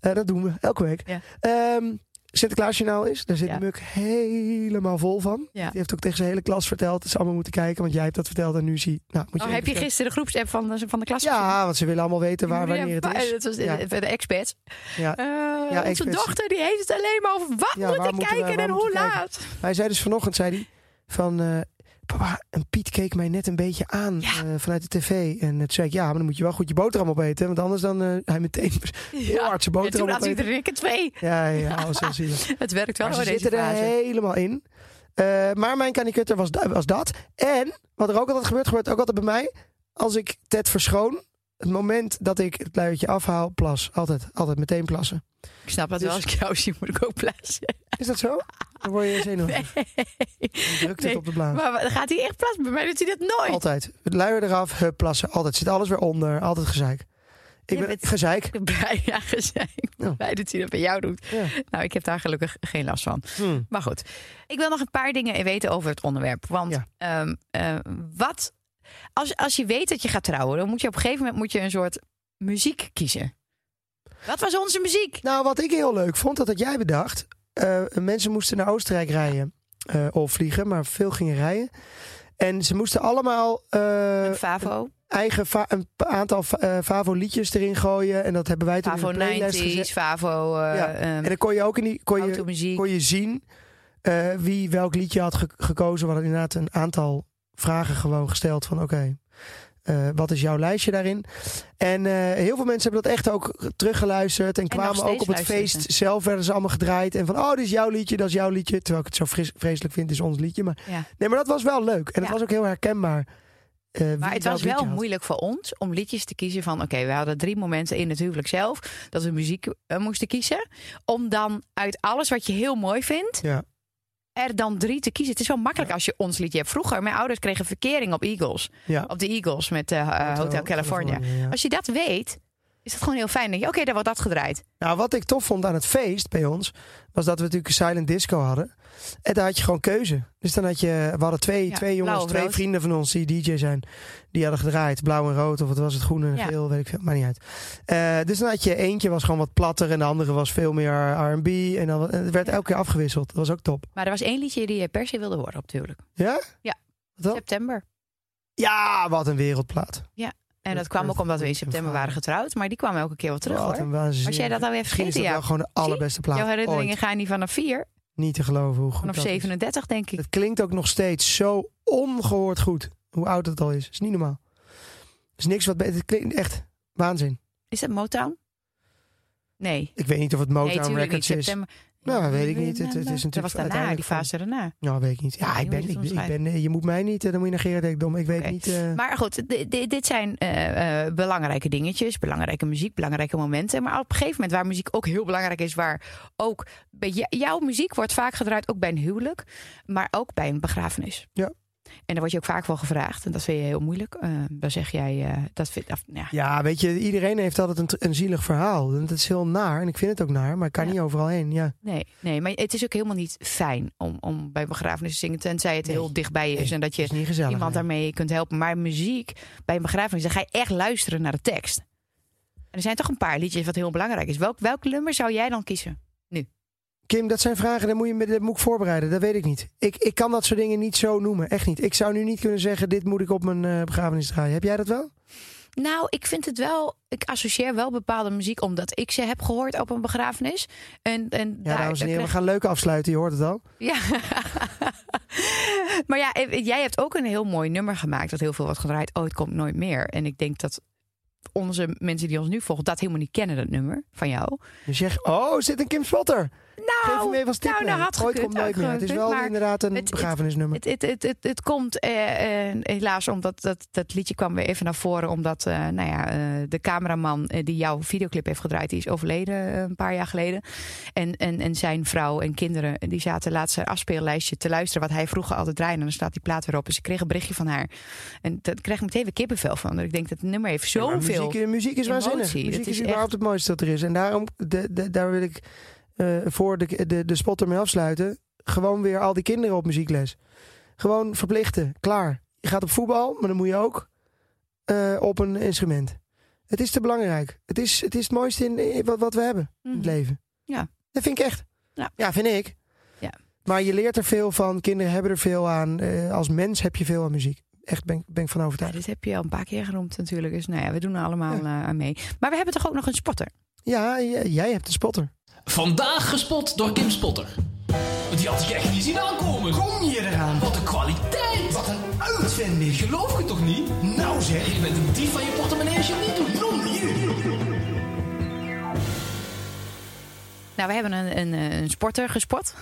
A: Eh, dat doen we elke week.
D: Ja.
A: Ehm, Sinterklaasjournaal is, daar zit
D: Ja.
A: Muk helemaal vol van.
D: Ja.
A: Die heeft ook tegen zijn hele klas verteld. Dat ze allemaal moeten kijken, want jij hebt dat verteld en nu zie nou, moet
D: Oh,
A: je. één
D: heb je
A: keer vertellen.
D: gisteren de groepsapp van de, van de klas gezien?
A: Ja, want ze willen allemaal weten waar,
D: Ja,
A: wanneer het
D: maar-
A: is.
D: Dat was de,
A: Ja.
D: de expats.
A: Ja.
D: Eh,
A: Ja,
D: onze
A: expats.
D: dochter die heeft het alleen maar over wat
A: Ja,
D: moet
A: waar
D: ik
A: moeten we-
D: kijken
A: waar
D: en
A: moeten
D: hoe
A: we kijken?
D: laat.
A: Hij zei dus vanochtend, zei hij, van... eh, Papa, een Piet keek mij net een beetje aan
D: Ja.
A: eh, vanuit de tv. En het zei ik, ja, maar dan moet je wel goed je boterham opeten. Want anders dan eh, hij meteen heel hard zijn
D: En toen
A: boterham
D: had
A: opeten.
D: iedereen er twee.
A: Ja, ja, alles heel zielig.
D: Het werkt wel
A: Maar ze
D: hoor, deze
A: zitten er
D: fase.
A: helemaal in. Eh, maar mijn kanikutter was, da- was dat. En wat er ook altijd gebeurt, gebeurt ook altijd bij mij. Als ik Ted verschoon, het moment dat ik het luiertje afhaal, plas. Altijd, altijd meteen plassen.
D: Ik snap dat
A: Dus-
D: wel, als ik jou zie moet ik ook plaatsen.
A: Is dat zo? Dan word je zenuwachtig. Je drukt het
D: Nee.
A: op de blaas.
D: Maar wat- gaat hij echt plassen? Bij mij doet hij dat nooit.
A: Altijd. Het luier eraf, hup, plassen. Altijd. Zit alles weer onder. Altijd gezeik. Ik
D: Ja,
A: ben
D: het-
A: gezeik.
D: Ik ben blij, ja, gezegd.
A: Ja.
D: Blij dat hij dat bij jou doet.
A: Ja.
D: Nou, ik heb daar gelukkig geen last van.
A: Hmm.
D: Maar goed, ik wil nog een paar dingen weten over het onderwerp. Want
A: Ja.
D: ehm, eh, wat. Als, als je weet dat je gaat trouwen, dan moet je op een gegeven moment moet je een soort muziek kiezen. Wat was onze muziek?
A: Nou, wat ik heel leuk vond, dat had jij bedacht. eh, mensen moesten naar Oostenrijk rijden. eh, of vliegen, maar veel gingen rijden. En ze moesten allemaal eh,
D: Een Favo.
A: eigen va- een pa- aantal fa- eh, Favo-liedjes erin gooien. En dat hebben wij toen
D: Favo
A: in de playlist gezet.
D: 90s, Favo eh
A: Ja, En dan kon je ook in die, kon je,
D: automuziek.
A: kon je zien eh, wie welk liedje had ge- gekozen. We hadden inderdaad een aantal vragen gewoon gesteld van oké, eh, wat is jouw lijstje daarin? En eh, heel veel mensen hebben dat echt ook teruggeluisterd en, kwamen
D: steeds
A: ook op het
D: luisteren
A: feest
D: ze.
A: zelf werden ze allemaal gedraaid. En van oh, dit is jouw liedje, dat is jouw liedje. Terwijl ik het zo fris- vreselijk vind, is ons liedje. Maar,
D: Ja.
A: Nee, maar dat was wel leuk. En het
D: Ja.
A: was ook heel herkenbaar. eh, wie
D: Maar het
A: welk
D: was
A: liedje
D: wel
A: had.
D: moeilijk voor ons om liedjes te kiezen van... oké, we hadden drie momenten in het huwelijk zelf dat we muziek eh, moesten kiezen. Om dan uit alles wat je heel mooi vindt,
A: Ja.
D: er dan drie te kiezen. Het is wel makkelijk als je ons liedje hebt. Vroeger, mijn ouders kregen verkering op Eagles.
A: Ja.
D: Op de Eagles met eh, eh, Hotel California.
A: ja.
D: Als je dat weet, is dat gewoon heel fijn. Dan denk je, oké, daar wordt dat gedraaid.
A: Nou, wat ik tof vond aan het feest bij ons, was dat we natuurlijk een silent disco hadden. En daar had je gewoon keuze. Dus dan had je, we hadden twee,
D: Ja,
A: twee jongens,
D: blauw of
A: twee
D: rood.
A: vrienden van ons die DJ zijn. Die hadden gedraaid, blauw en rood, of wat was het, groen en
D: Ja.
A: geel, weet ik veel, maar niet uit. Eh, dus dan had je, eentje was gewoon wat platter en de andere was veel meer R&B. En dan, wat- en het werd elke keer afgewisseld, dat was ook top.
D: Maar er was één liedje die je per se wilde horen op het huwelijk.
A: Ja?
D: Ja.
A: Wat dan?
D: September.
A: Ja, wat een wereldplaat.
D: En
A: Dat
D: dat kwam
A: werd-
D: ook omdat we in
A: werd
D: september
A: een
D: waren getrouwd. Maar die kwam elke keer wel terug,
A: wat
D: hoor.
A: een waanzinnig.
D: Was jij dat alweer
A: Misschien is
D: vergeten,
A: dat
D: ja?
A: wel gewoon de allerbeste plaat
D: Jouw herinneringen
A: ooit.
D: gaan niet vanaf 4,
A: Niet te geloven hoe goed
D: vanaf
A: dat is.
D: 37 denk ik.
A: Het klinkt ook nog steeds zo ongehoord goed. Hoe oud het al is. Is niet normaal. Is niks wat. be- Het klinkt echt waanzin.
D: Is dat Motown? Nee.
A: Ik weet niet of het
D: Nee,
A: Motown
D: tuurlijk niet.
A: Records is.
D: September.
A: Nou, dat weet ik niet. Het- het is
D: Dat was
A: natuurlijk
D: daarna, die
A: uiteindelijk
D: fase daarna.
A: Nou, weet ik niet. Ja,
D: Ja,
A: ik
D: je
A: ben,
D: moet
A: ik,
D: het
A: ik ben.
D: omschrijven.
A: eh, Je moet mij niet. eh, Dan moet je negeren, denk ik, dom. Ik weet
D: Oké.
A: niet. eh,
D: Maar goed, di- di- dit zijn eh, eh, belangrijke dingetjes. Belangrijke muziek, belangrijke momenten. Maar op een gegeven moment waar muziek ook heel belangrijk is... waar ook... bij j- jouw muziek wordt vaak gedraaid ook bij een huwelijk. Maar ook bij een begrafenis.
A: Ja.
D: En daar word je ook vaak wel gevraagd. En dat vind je heel moeilijk. Eh, dan zeg jij... eh, dat vind, of, nou ja,
A: Ja, weet je, iedereen heeft altijd een, tr- een zielig verhaal. En Dat is heel naar. En ik vind het ook naar, maar ik kan
D: Ja.
A: niet overal heen. Ja.
D: Nee, nee, maar het is ook helemaal niet fijn om, om bij begrafenissen te zingen. Tenzij het
A: Nee.
D: heel dichtbij is
A: Nee,
D: en dat
A: Het is
D: je
A: niet gezellig.
D: iemand
A: nee.
D: daarmee kunt helpen. Maar muziek bij een begrafenis, dan ga je echt luisteren naar de tekst. En er zijn toch een paar liedjes wat heel belangrijk is. Welk, welk nummer zou jij dan kiezen?
A: Kim, dat zijn vragen, daar moet je me dat moet ik voorbereiden. Dat weet ik niet. Ik, ik kan dat soort dingen niet zo noemen. Echt niet. Ik zou nu niet kunnen zeggen, dit moet ik op mijn eh, begrafenis draaien. Heb jij dat wel?
D: Nou, ik vind het wel. Ik associeer wel bepaalde muziek omdat ik ze heb gehoord op een begrafenis. En, en
A: Ja, dames en heren, we gaan leuk afsluiten. Je hoort het al.
D: Ja. maar ja, eh, jij hebt ook een heel mooi nummer gemaakt dat heel veel wordt gedraaid. Oh, het komt nooit meer. En ik denk dat onze mensen die ons nu volgen dat helemaal niet kennen, dat nummer van jou.
A: Je zegt, oh, er zit een Kim Spotter. Geef hem
D: Nou,
A: even als tip
D: nou,
A: mee.
D: nou, had
A: Ooit
D: gekund,
A: komt nooit
D: had
A: meer. Het is
D: gekund,
A: wel
D: maar
A: inderdaad een
D: het- het-
A: begrafenisnummer.
D: het, het, het, het, het komt eh, eh, helaas omdat dat, dat liedje kwam weer even naar voren. Omdat eh, nou ja, eh, de cameraman eh, die jouw videoclip heeft gedraaid, die is overleden eh, een paar jaar geleden. En, en, en zijn vrouw en kinderen eh, die zaten laatst zijn afspeellijstje te luisteren wat hij vroeger altijd draaide. En dan staat die plaat weer op. En ze kregen een berichtje van haar. En dat kreeg ik meteen weer kippenvel van. Ik denk dat het nummer heeft
A: Ja, maar
D: zoveel.
A: muziek, muziek is
D: emotie.
A: waanzinnig.
D: Het
A: Muziek
D: is
A: is überhaupt
D: echt-
A: het mooiste dat er is. En daarom, de, de- daar wil ik eh, voor de, de, de spotter mee afsluiten. Gewoon weer al die kinderen op muziekles. Gewoon verplichten. Klaar. Je gaat op voetbal, maar dan moet je ook eh, op een instrument. Het is te belangrijk. Het is het, is het mooiste in, in wat, wat we hebben in het
D: Mhm.
A: leven.
D: Ja.
A: Dat vind ik echt.
D: Ja.
A: vind ik.
D: Ja.
A: Maar je leert er veel van. Kinderen hebben er veel aan. Eh, als mens heb je veel aan muziek. Echt, ben, ik- ben ik van
D: Ja,
A: overtuigd.
D: dit heb je al een paar keer genoemd natuurlijk. Dus nou ja, we doen er allemaal eh, aan mee. Maar we hebben toch ook nog een spotter?
A: Ja, j- jij hebt een spotter.
F: Vandaag gespot door Kim Spotter. Die had ik echt niet zien aankomen.
B: Kom je eraan?
F: Wat een kwaliteit!
B: Wat een uitvinding.
F: Geloof ik het toch niet?
B: Nou zeg.
F: Je bent een dief van je portemonnee als je het niet doet.
D: Nou, we hebben een, een, eh, een sporter gespot.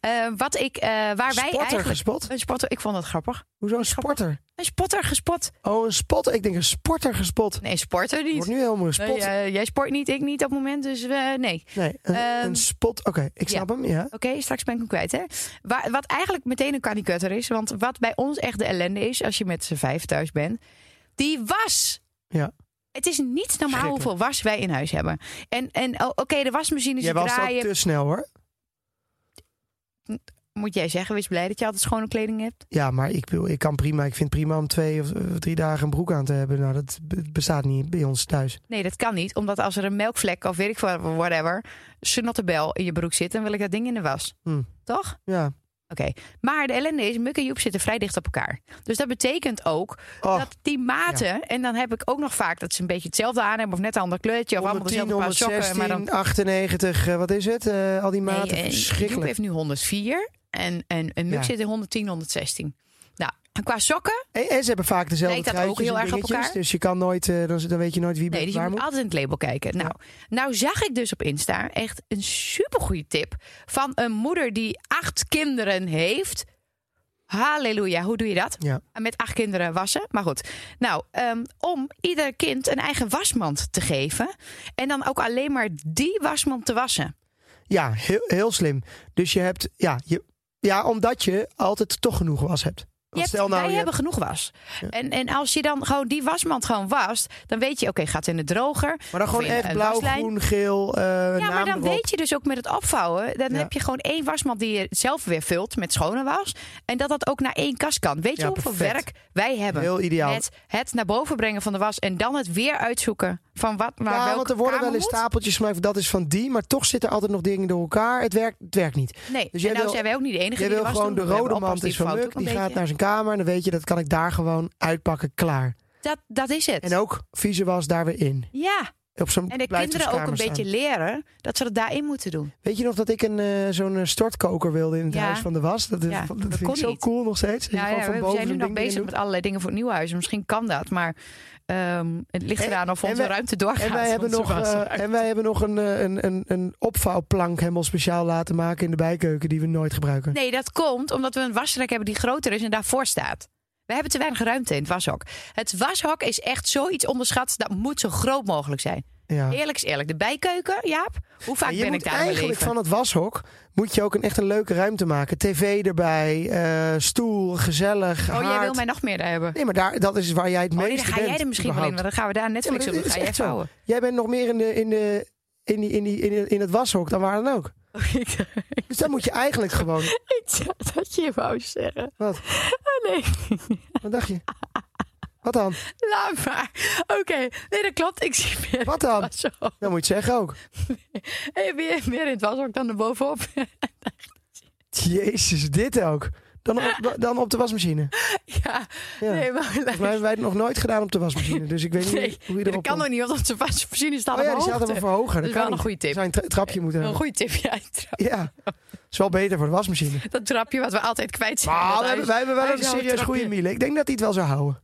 D: Eh, wat ik, eh, waar wij
A: sporter
D: eigenlijk...
A: gespot?
D: Een sporter, ik vond dat grappig.
A: Hoezo een sporter?
D: Een spotter gespot.
A: Oh, een spotter. Ik denk een sporter gespot.
D: Nee, sporter niet.
A: Wordt nu helemaal een spot.
D: Nee, eh, jij sport niet, ik niet op het moment, dus eh, nee.
A: Nee, een,
D: Ehm,
A: een spot. Oké, ik snap hem. Ja.
D: Oké, straks ben ik hem kwijt, hè? Waar, wat eigenlijk meteen een kanikutter is, want wat bij ons echt de ellende is, als je met z'n vijf thuis bent, die was.
A: Ja.
D: Het is niet normaal hoeveel was wij in huis hebben. En, en oh, oké, de wasmachine is
A: Jij was ook
D: draaien.
A: te snel hoor.
D: moet jij zeggen, wees blij dat je altijd schone kleding hebt.
A: Ja, maar ik, bedoel, ik kan prima. Ik vind prima om twee of eh, drie dagen een broek aan te hebben. Nou, dat b- bestaat niet bij ons thuis.
D: Nee, dat kan niet. Omdat als er een melkvlek of weet ik wat, whatever, snottebel in je broek zit, dan wil ik dat ding in de was.
A: Hm.
D: Toch?
A: Ja.
D: Oké. Maar de ellende is, Muk en Joep zitten vrij dicht op elkaar. Dus dat betekent ook
A: Oh,
D: dat die maten, en dan heb ik ook nog vaak dat ze een beetje hetzelfde aan hebben of net een ander kleurtje of allemaal
A: 110,
D: dezelfde paar sokken. Maar dan
A: 116, 98, eh, wat is het? Eh, al die
D: Nee,
A: maten,
D: eh, Joep
A: verschrikkelijk.
D: heeft nu 104 en, en, en Muk
A: Ja.
D: zit in 110, 116. Nou, en qua sokken,
A: En, en ze hebben vaak dezelfde
D: Lijkt dat ook
A: truitjes
D: heel
A: en
D: erg op
A: dingetjes,
D: elkaar?
A: Dus je kan nooit, eh, dan, dan weet je nooit
D: nee,
A: wie bij
D: dus je
A: waar
D: moet
A: moet.
D: altijd in het label kijken. Nou, nou zag ik dus op Insta echt een supergoeie tip van een moeder die acht kinderen heeft. Halleluja, hoe doe je dat?
A: Ja.
D: Met acht kinderen wassen, maar goed. Nou, ehm, om ieder kind een eigen wasmand te geven. En dan ook alleen maar die wasmand te wassen.
A: Ja, heel, heel slim. Dus je hebt, ja, je, ja, omdat je altijd toch genoeg was hebt.
D: Je
A: Want
D: hebt,
A: stel nou,
D: wij
A: je
D: hebben genoeg was. En, en als je dan gewoon die wasmand gewoon wast, dan weet je, oké, gaat in de droger.
A: hebt- maar dan
D: of
A: gewoon
D: in
A: echt
D: een
A: blauw,
D: waslijn.
A: groen, geel, eh
D: Ja, maar
A: naam
D: dan
A: erop.
D: weet je dus ook met het opvouwen, dan
A: Ja.
D: heb je gewoon één wasmand die je zelf weer vult met schone was. En dat dat ook naar één kast kan. Weet je
A: Ja,
D: hoeveel
A: perfect.
D: werk wij hebben?
A: Heel ideaal.
D: Met het naar boven brengen van de was en dan het weer uitzoeken van wat waar
A: ja,
D: welke
A: want er worden
D: kamer
A: wel eens
D: moet.
A: stapeltjes gemaakt. Dat is van die, maar toch zitten er altijd nog dingen door elkaar. Het werkt, het werkt niet.
D: Nee,
A: Dus jij
D: en nou
A: wil-
D: zijn wij ook niet de enige
A: Je
D: die
A: wil
D: was
A: gewoon de
D: doen. We hebben
A: rode
D: oppas
A: mand is
D: die
A: van
D: fout
A: Muk.
D: ook een
A: Die gaat
D: beetje.
A: naar zijn kamer en dan weet je dat kan ik daar gewoon uitpakken, klaar.
D: dat, dat is het.
A: En ook vieze was daar weer in.
D: ja,
A: Op zo'n
D: en de
A: blijft op
D: kinderen
A: zijn
D: ook een
A: kamer
D: beetje
A: staan.
D: leren dat ze dat daarin moeten doen.
A: Weet je nog dat ik een, eh, zo'n eh, stortkoker wilde in het
D: Ja.
A: huis van de was? Dat,
D: Ja,
A: dat,
D: dat
A: vind
D: kon
A: ik zo
D: niet.
A: cool nog steeds. Dat Dus je
D: Ja,
A: gewoon
D: Nou ja,
A: van
D: we
A: boven
D: zijn nu
A: zo'n
D: nog
A: ding erin
D: bezig
A: doet.
D: met allerlei dingen voor het nieuwe huis. Misschien kan dat, maar ehm, het ligt
A: En-
D: eraan of
A: en
D: onze
A: wij-
D: ruimte doorgaat.
A: En wij, hebben
D: want
A: nog,
D: zo was het.
A: eh, en wij hebben nog een, eh, een, een, een opvouwplank helemaal speciaal laten maken in de bijkeuken die we nooit gebruiken.
D: Nee, dat komt omdat we een wasrek hebben die groter is en daarvoor staat. We hebben te weinig ruimte in het washok. Het washok is echt zoiets onderschat. Dat moet zo groot mogelijk zijn.
A: Ja.
D: Eerlijk is eerlijk. De bijkeuken, Jaap? Hoe vaak
A: Ja, je
D: ben
A: moet
D: ik daar in mijn
A: eigenlijk
D: leven?
A: van het washok moet je ook een, echt een leuke ruimte maken. TV erbij, eh, stoel, gezellig,
D: Oh, jij
A: haard.
D: wil mij nog meer daar hebben.
A: Nee, maar daar, dat is waar jij het
D: Oh, nee,
A: meeste
D: dan ga
A: bent.
D: jij er misschien wel in.
A: überhaupt.
D: Maar dan gaan we daar Netflix
A: Ja,
D: op.
A: maar
D: Dan
A: dit
D: ga jij
A: is echt zo.
D: vouwen.
A: Jij bent nog meer in, de, in, de, in, die, in, die, in, in het washok dan waar dan ook. Dus dan moet je eigenlijk gewoon...
D: Ik zou dat je wou zeggen.
A: Wat?
D: Oh, nee.
A: Wat dacht je? Wat dan?
D: Laat maar. Oké. Nee, dat klopt. Ik zie meer
A: Wat dan?
D: zo.
A: Dan moet je het zeggen ook.
D: Hey, meer, Eh, meer in het washok dan erbovenop.
A: Jezus, dit ook. Dan op, dan op de wasmachine.
D: ja.
A: Ja.
D: Nee, maar
A: Volgens mij hebben wij het nog nooit gedaan op de wasmachine. Dus ik weet niet
D: Nee,
A: hoe je
D: Ja,
A: erop
D: dat kan
A: komt.
D: nog niet, want onze wasmachine staat
A: Oh ja,
D: op
A: die staat
D: hoogte.
A: er voor hoger.
D: Dat is
A: kan
D: wel een
A: niet.
D: goede tip.
A: Zou je eh, een tra- trapje moeten
D: Een
A: hebben.
D: goede tip, ja. trap-
A: Ja, is wel beter voor de wasmachine.
D: Dat trapje wat we altijd kwijt zijn.
A: Maar
D: Dat
A: we hebben, wij
D: huis-
A: hebben wel
D: hij
A: een
D: zou
A: serieus
D: het
A: goede
D: trapje-
A: Miele. Ik denk dat hij het wel zou houden.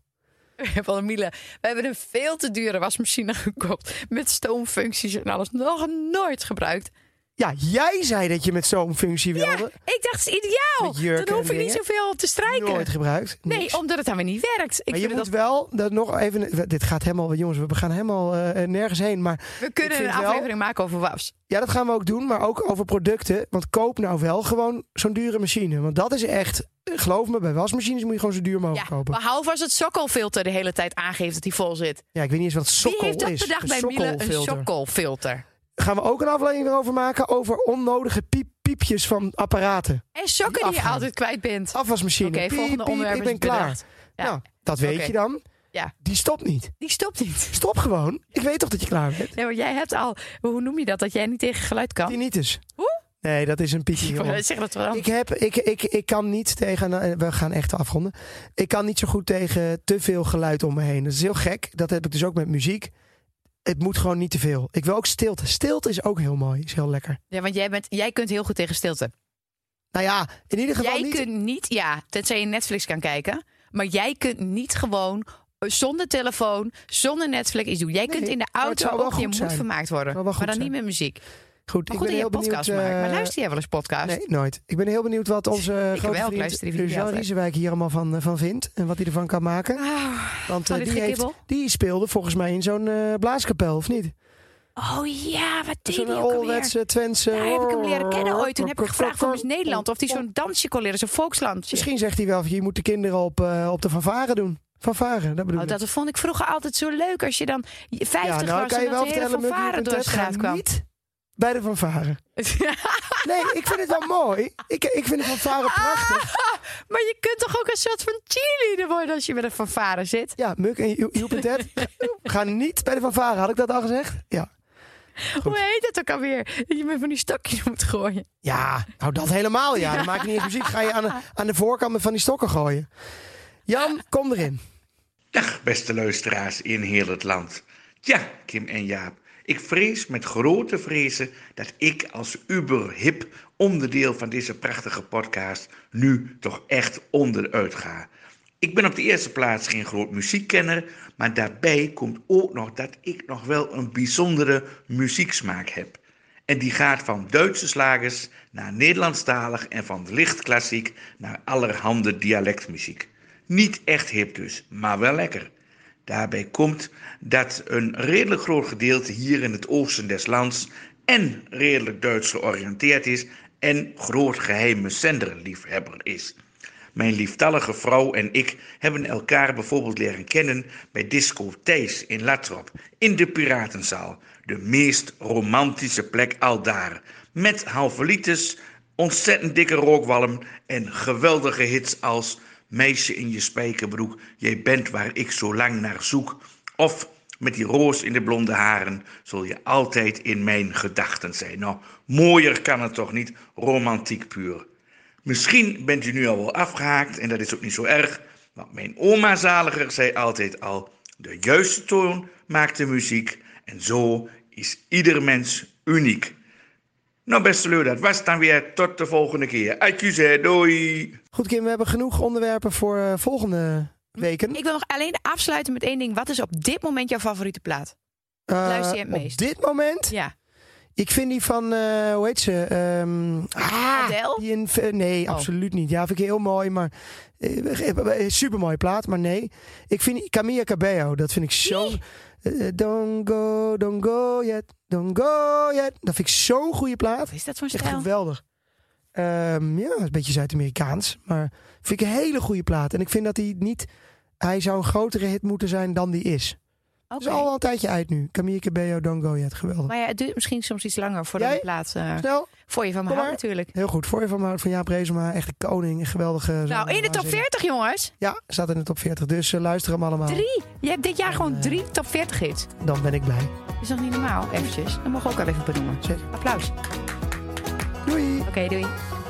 D: Van Miele. We hebben een veel te dure wasmachine gekocht. Met stoomfuncties en alles. Nog nooit gebruikt.
A: Ja, jij zei dat je met zo'n functie
D: Ja,
A: wilde.
D: ik dacht, het is ideaal.
A: Met jurken
D: Dan hoef
A: en
D: ik niet
A: dingen.
D: zoveel te strijken.
A: Nooit gebruikt. Niks.
D: nee, omdat het dan weer niet werkt. Ik
A: maar je
D: vind
A: moet
D: dat,
A: wel dat nog even. Dit gaat helemaal, jongens, we gaan helemaal eh, nergens heen. Maar
D: we kunnen
A: ik
D: een
A: vind wel-
D: aflevering maken over was.
A: ja, dat gaan we ook doen. Maar ook over producten. Want koop nou wel gewoon zo'n dure machine. Want dat is echt, eh, geloof me, bij wasmachines moet je gewoon zo duur mogelijk
D: Ja,
A: kopen.
D: behalve als het sokkelfilter de hele tijd aangeeft dat hij vol zit.
A: Ja, ik weet niet eens wat sokkel
D: Wie heeft dat
A: is.
D: bedacht
A: Een
D: bij Miele? Een
A: sokkelfilter.
D: sokkelfilter.
A: Gaan we ook een aflevering erover maken over onnodige piep, piepjes van apparaten.
D: En sokken die, je
A: afgaan.
D: altijd kwijt bent.
A: Afwasmachine.
D: Oké,
A: Piep,
D: volgende
A: piep,
D: onderwerp
A: Ik
D: is
A: ben klaar.
D: bedacht. Ja.
A: Nou, dat weet
D: Oké.
A: je dan.
D: Ja.
A: Die stopt niet.
D: Die stopt niet.
A: Stop gewoon. Ik weet toch dat je klaar bent.
D: Nee, maar jij hebt al... Hoe noem je dat? Dat jij niet tegen geluid kan?
A: Tinnitus.
D: Hoe?
A: Nee, dat is een piepje.
D: Ik
A: jongen.
D: wou zeggen dat wel.
A: Ik, heb, ik, ik, ik kan niet tegen. eh, We gaan echt afronden. Ik kan niet zo goed tegen te veel geluid om me heen. Dat is heel gek. Dat heb ik dus ook met muziek. Het moet gewoon niet te veel. Ik wil ook stilte. Stilte is ook heel mooi. Is heel lekker.
D: Ja, want jij, bent, jij kunt heel goed tegen stilte.
A: Nou ja, in ieder geval
D: Jij
A: niet.
D: kunt niet... Ja, tenzij je Netflix kan kijken. Maar jij kunt niet gewoon eh, zonder telefoon, zonder Netflix iets doen. Jij kunt
A: Nee,
D: in de
A: maar het
D: auto
A: zou wel
D: ook, je
A: goed
D: moet
A: zijn.
D: vermaakt
A: zou
D: worden.
A: wel
D: Maar
A: goed
D: dan niet
A: zijn.
D: met muziek. Maar
A: Goed, ik
D: goed
A: ben
D: dat je
A: heel
D: een podcast
A: benieuwd.
D: maakt. Maar
A: eh,
D: luister jij wel eens podcast?
A: Nee, nooit. Ik ben heel benieuwd wat onze
D: Ik
A: grote
D: wel, ik
A: vriend
D: luister die video
A: Jean
D: altijd.
A: Riesewijk hier allemaal van, eh, van vindt. En wat hij ervan kan maken.
D: Ah,
A: Want
D: van
A: eh,
D: dit
A: die, heeft,
D: gekibbel?
A: die speelde volgens mij in zo'n eh, blaaskapel, of niet?
D: oh ja, wat deed
A: Zo'n
D: hij ook alweer?
A: ouderwetse Twentse... Oh,
D: Daar heb ik hem leren kennen ooit. Toen heb ik gevraagd voor Miss Nederland of hij zo'n dansje kon leren, zo'n volkslandje.
A: Misschien zegt hij wel, je moet de kinderen op, eh, op de fanfare doen. Fanfare, dat bedoel
D: Oh,
A: ik.
D: dat vond ik vroeger altijd zo leuk als je dan 50
A: ja, nou
D: was
A: kan
D: en
A: je
D: dat
A: wel
D: de hele
A: vertellen, Muggy,
D: fanfare
A: op een
D: door de
A: TED
D: straat
A: gaan
D: kwam.
A: niet bij de fanfare. Nee, ik vind het wel mooi. Ik, ik vind de fanfare prachtig.
D: maar je kunt toch ook een soort van cheerleader worden als je met een fanfare zit?
A: Ja, Muk en Jo- Joep en Ted gaan niet bij de fanfare. Had ik dat al gezegd? Ja.
D: Hoe heet dat ook alweer? Dat je met van die stokjes moet gooien.
A: Ja, nou dat helemaal ja. Dan maak je niet eens muziek. Ga je aan de, aan de voorkant van die stokken gooien. Jan, kom erin.
G: Dag, beste luisteraars in heel het land. Ja, Kim en Jaap, ik vrees met grote vrezen dat ik als uberhip onderdeel van deze prachtige podcast nu toch echt onderuit ga. Ik ben op de eerste plaats geen groot muziekkenner, maar daarbij komt ook nog dat ik nog wel een bijzondere muzieksmaak heb. En die gaat van Duitse slagers naar Nederlandstalig en van licht klassiek naar allerhande dialectmuziek. Niet echt hip dus, maar wel lekker. Daarbij komt dat een redelijk groot gedeelte hier in het oosten des lands en redelijk Duits georiënteerd is en groot geheime zenderliefhebber is. Mijn lieftallige vrouw en ik hebben elkaar bijvoorbeeld leren kennen bij Disco Thijs in Latrop, in de Piratenzaal. De meest romantische plek aldaar. Met halvelites, ontzettend dikke rookwalm en geweldige hits als Meisje in je spijkerbroek, jij bent waar ik zo lang naar zoek. Of met die roos in de blonde haren zul je altijd in mijn gedachten zijn. Nou, mooier kan het toch niet, romantiek puur. Misschien bent u nu al wel afgehaakt en dat is ook niet zo erg. Want mijn oma zaliger zei altijd al: de juiste toon maakt de muziek. En zo is ieder mens uniek. Nou, beste leu, dat was het dan weer. Tot de volgende keer. Adjuzé, doei.
A: Goed Kim, we hebben genoeg onderwerpen voor eh, volgende weken.
D: Ik wil nog alleen afsluiten met één ding. Wat is op dit moment jouw favoriete plaat?
A: Eh,
D: luister je het
A: Op
D: meest?
A: dit moment?
D: Ja.
A: Ik vind die van, eh, hoe heet ze? Ehm, ah,
D: Adele?
A: die in- eh, nee,
D: Oh.
A: absoluut niet. Ja, vind ik heel mooi, maar eh, eh, supermooie plaat, maar nee. Ik vind Camilla Cabello, dat vind ik zo'n... eh, don't go, don't go yet, don't go yet. Dat vind ik zo'n goede plaat.
D: Wat is dat voor een
A: Echt
D: stijl?
A: geweldig. Ehm, ja, een beetje Zuid-Amerikaans. Maar vind ik een hele goede plaat. En ik vind dat hij niet... Hij zou een grotere hit moeten zijn dan die is. Het
D: Oké.
A: is al wel een tijdje uit nu. Camille Cabello, Don't Go Yet. Geweldig.
D: Maar ja, het duurt misschien soms iets langer voordat
A: Jij?
D: de plaat... eh,
A: Snel,
D: voor je van me
A: Kom
D: houdt
A: maar.
D: natuurlijk.
A: heel goed. Voor je van, mij, van Jaap Reesema. Echt een koning. Een geweldige...
D: Nou,
A: zanger,
D: in de top
A: waanzinnig.
D: 40, jongens.
A: Ja, staat in de top 40. Dus eh, luister hem allemaal.
D: Drie. Je hebt dit jaar
A: Eh.
D: gewoon drie top 40 hits.
A: Dan ben ik blij.
D: Is nog niet normaal? Eventjes. Dat mogen we ook al even benoemen.
A: Zeker.
D: Applaus. Oké,
A: Doei!
D: doei.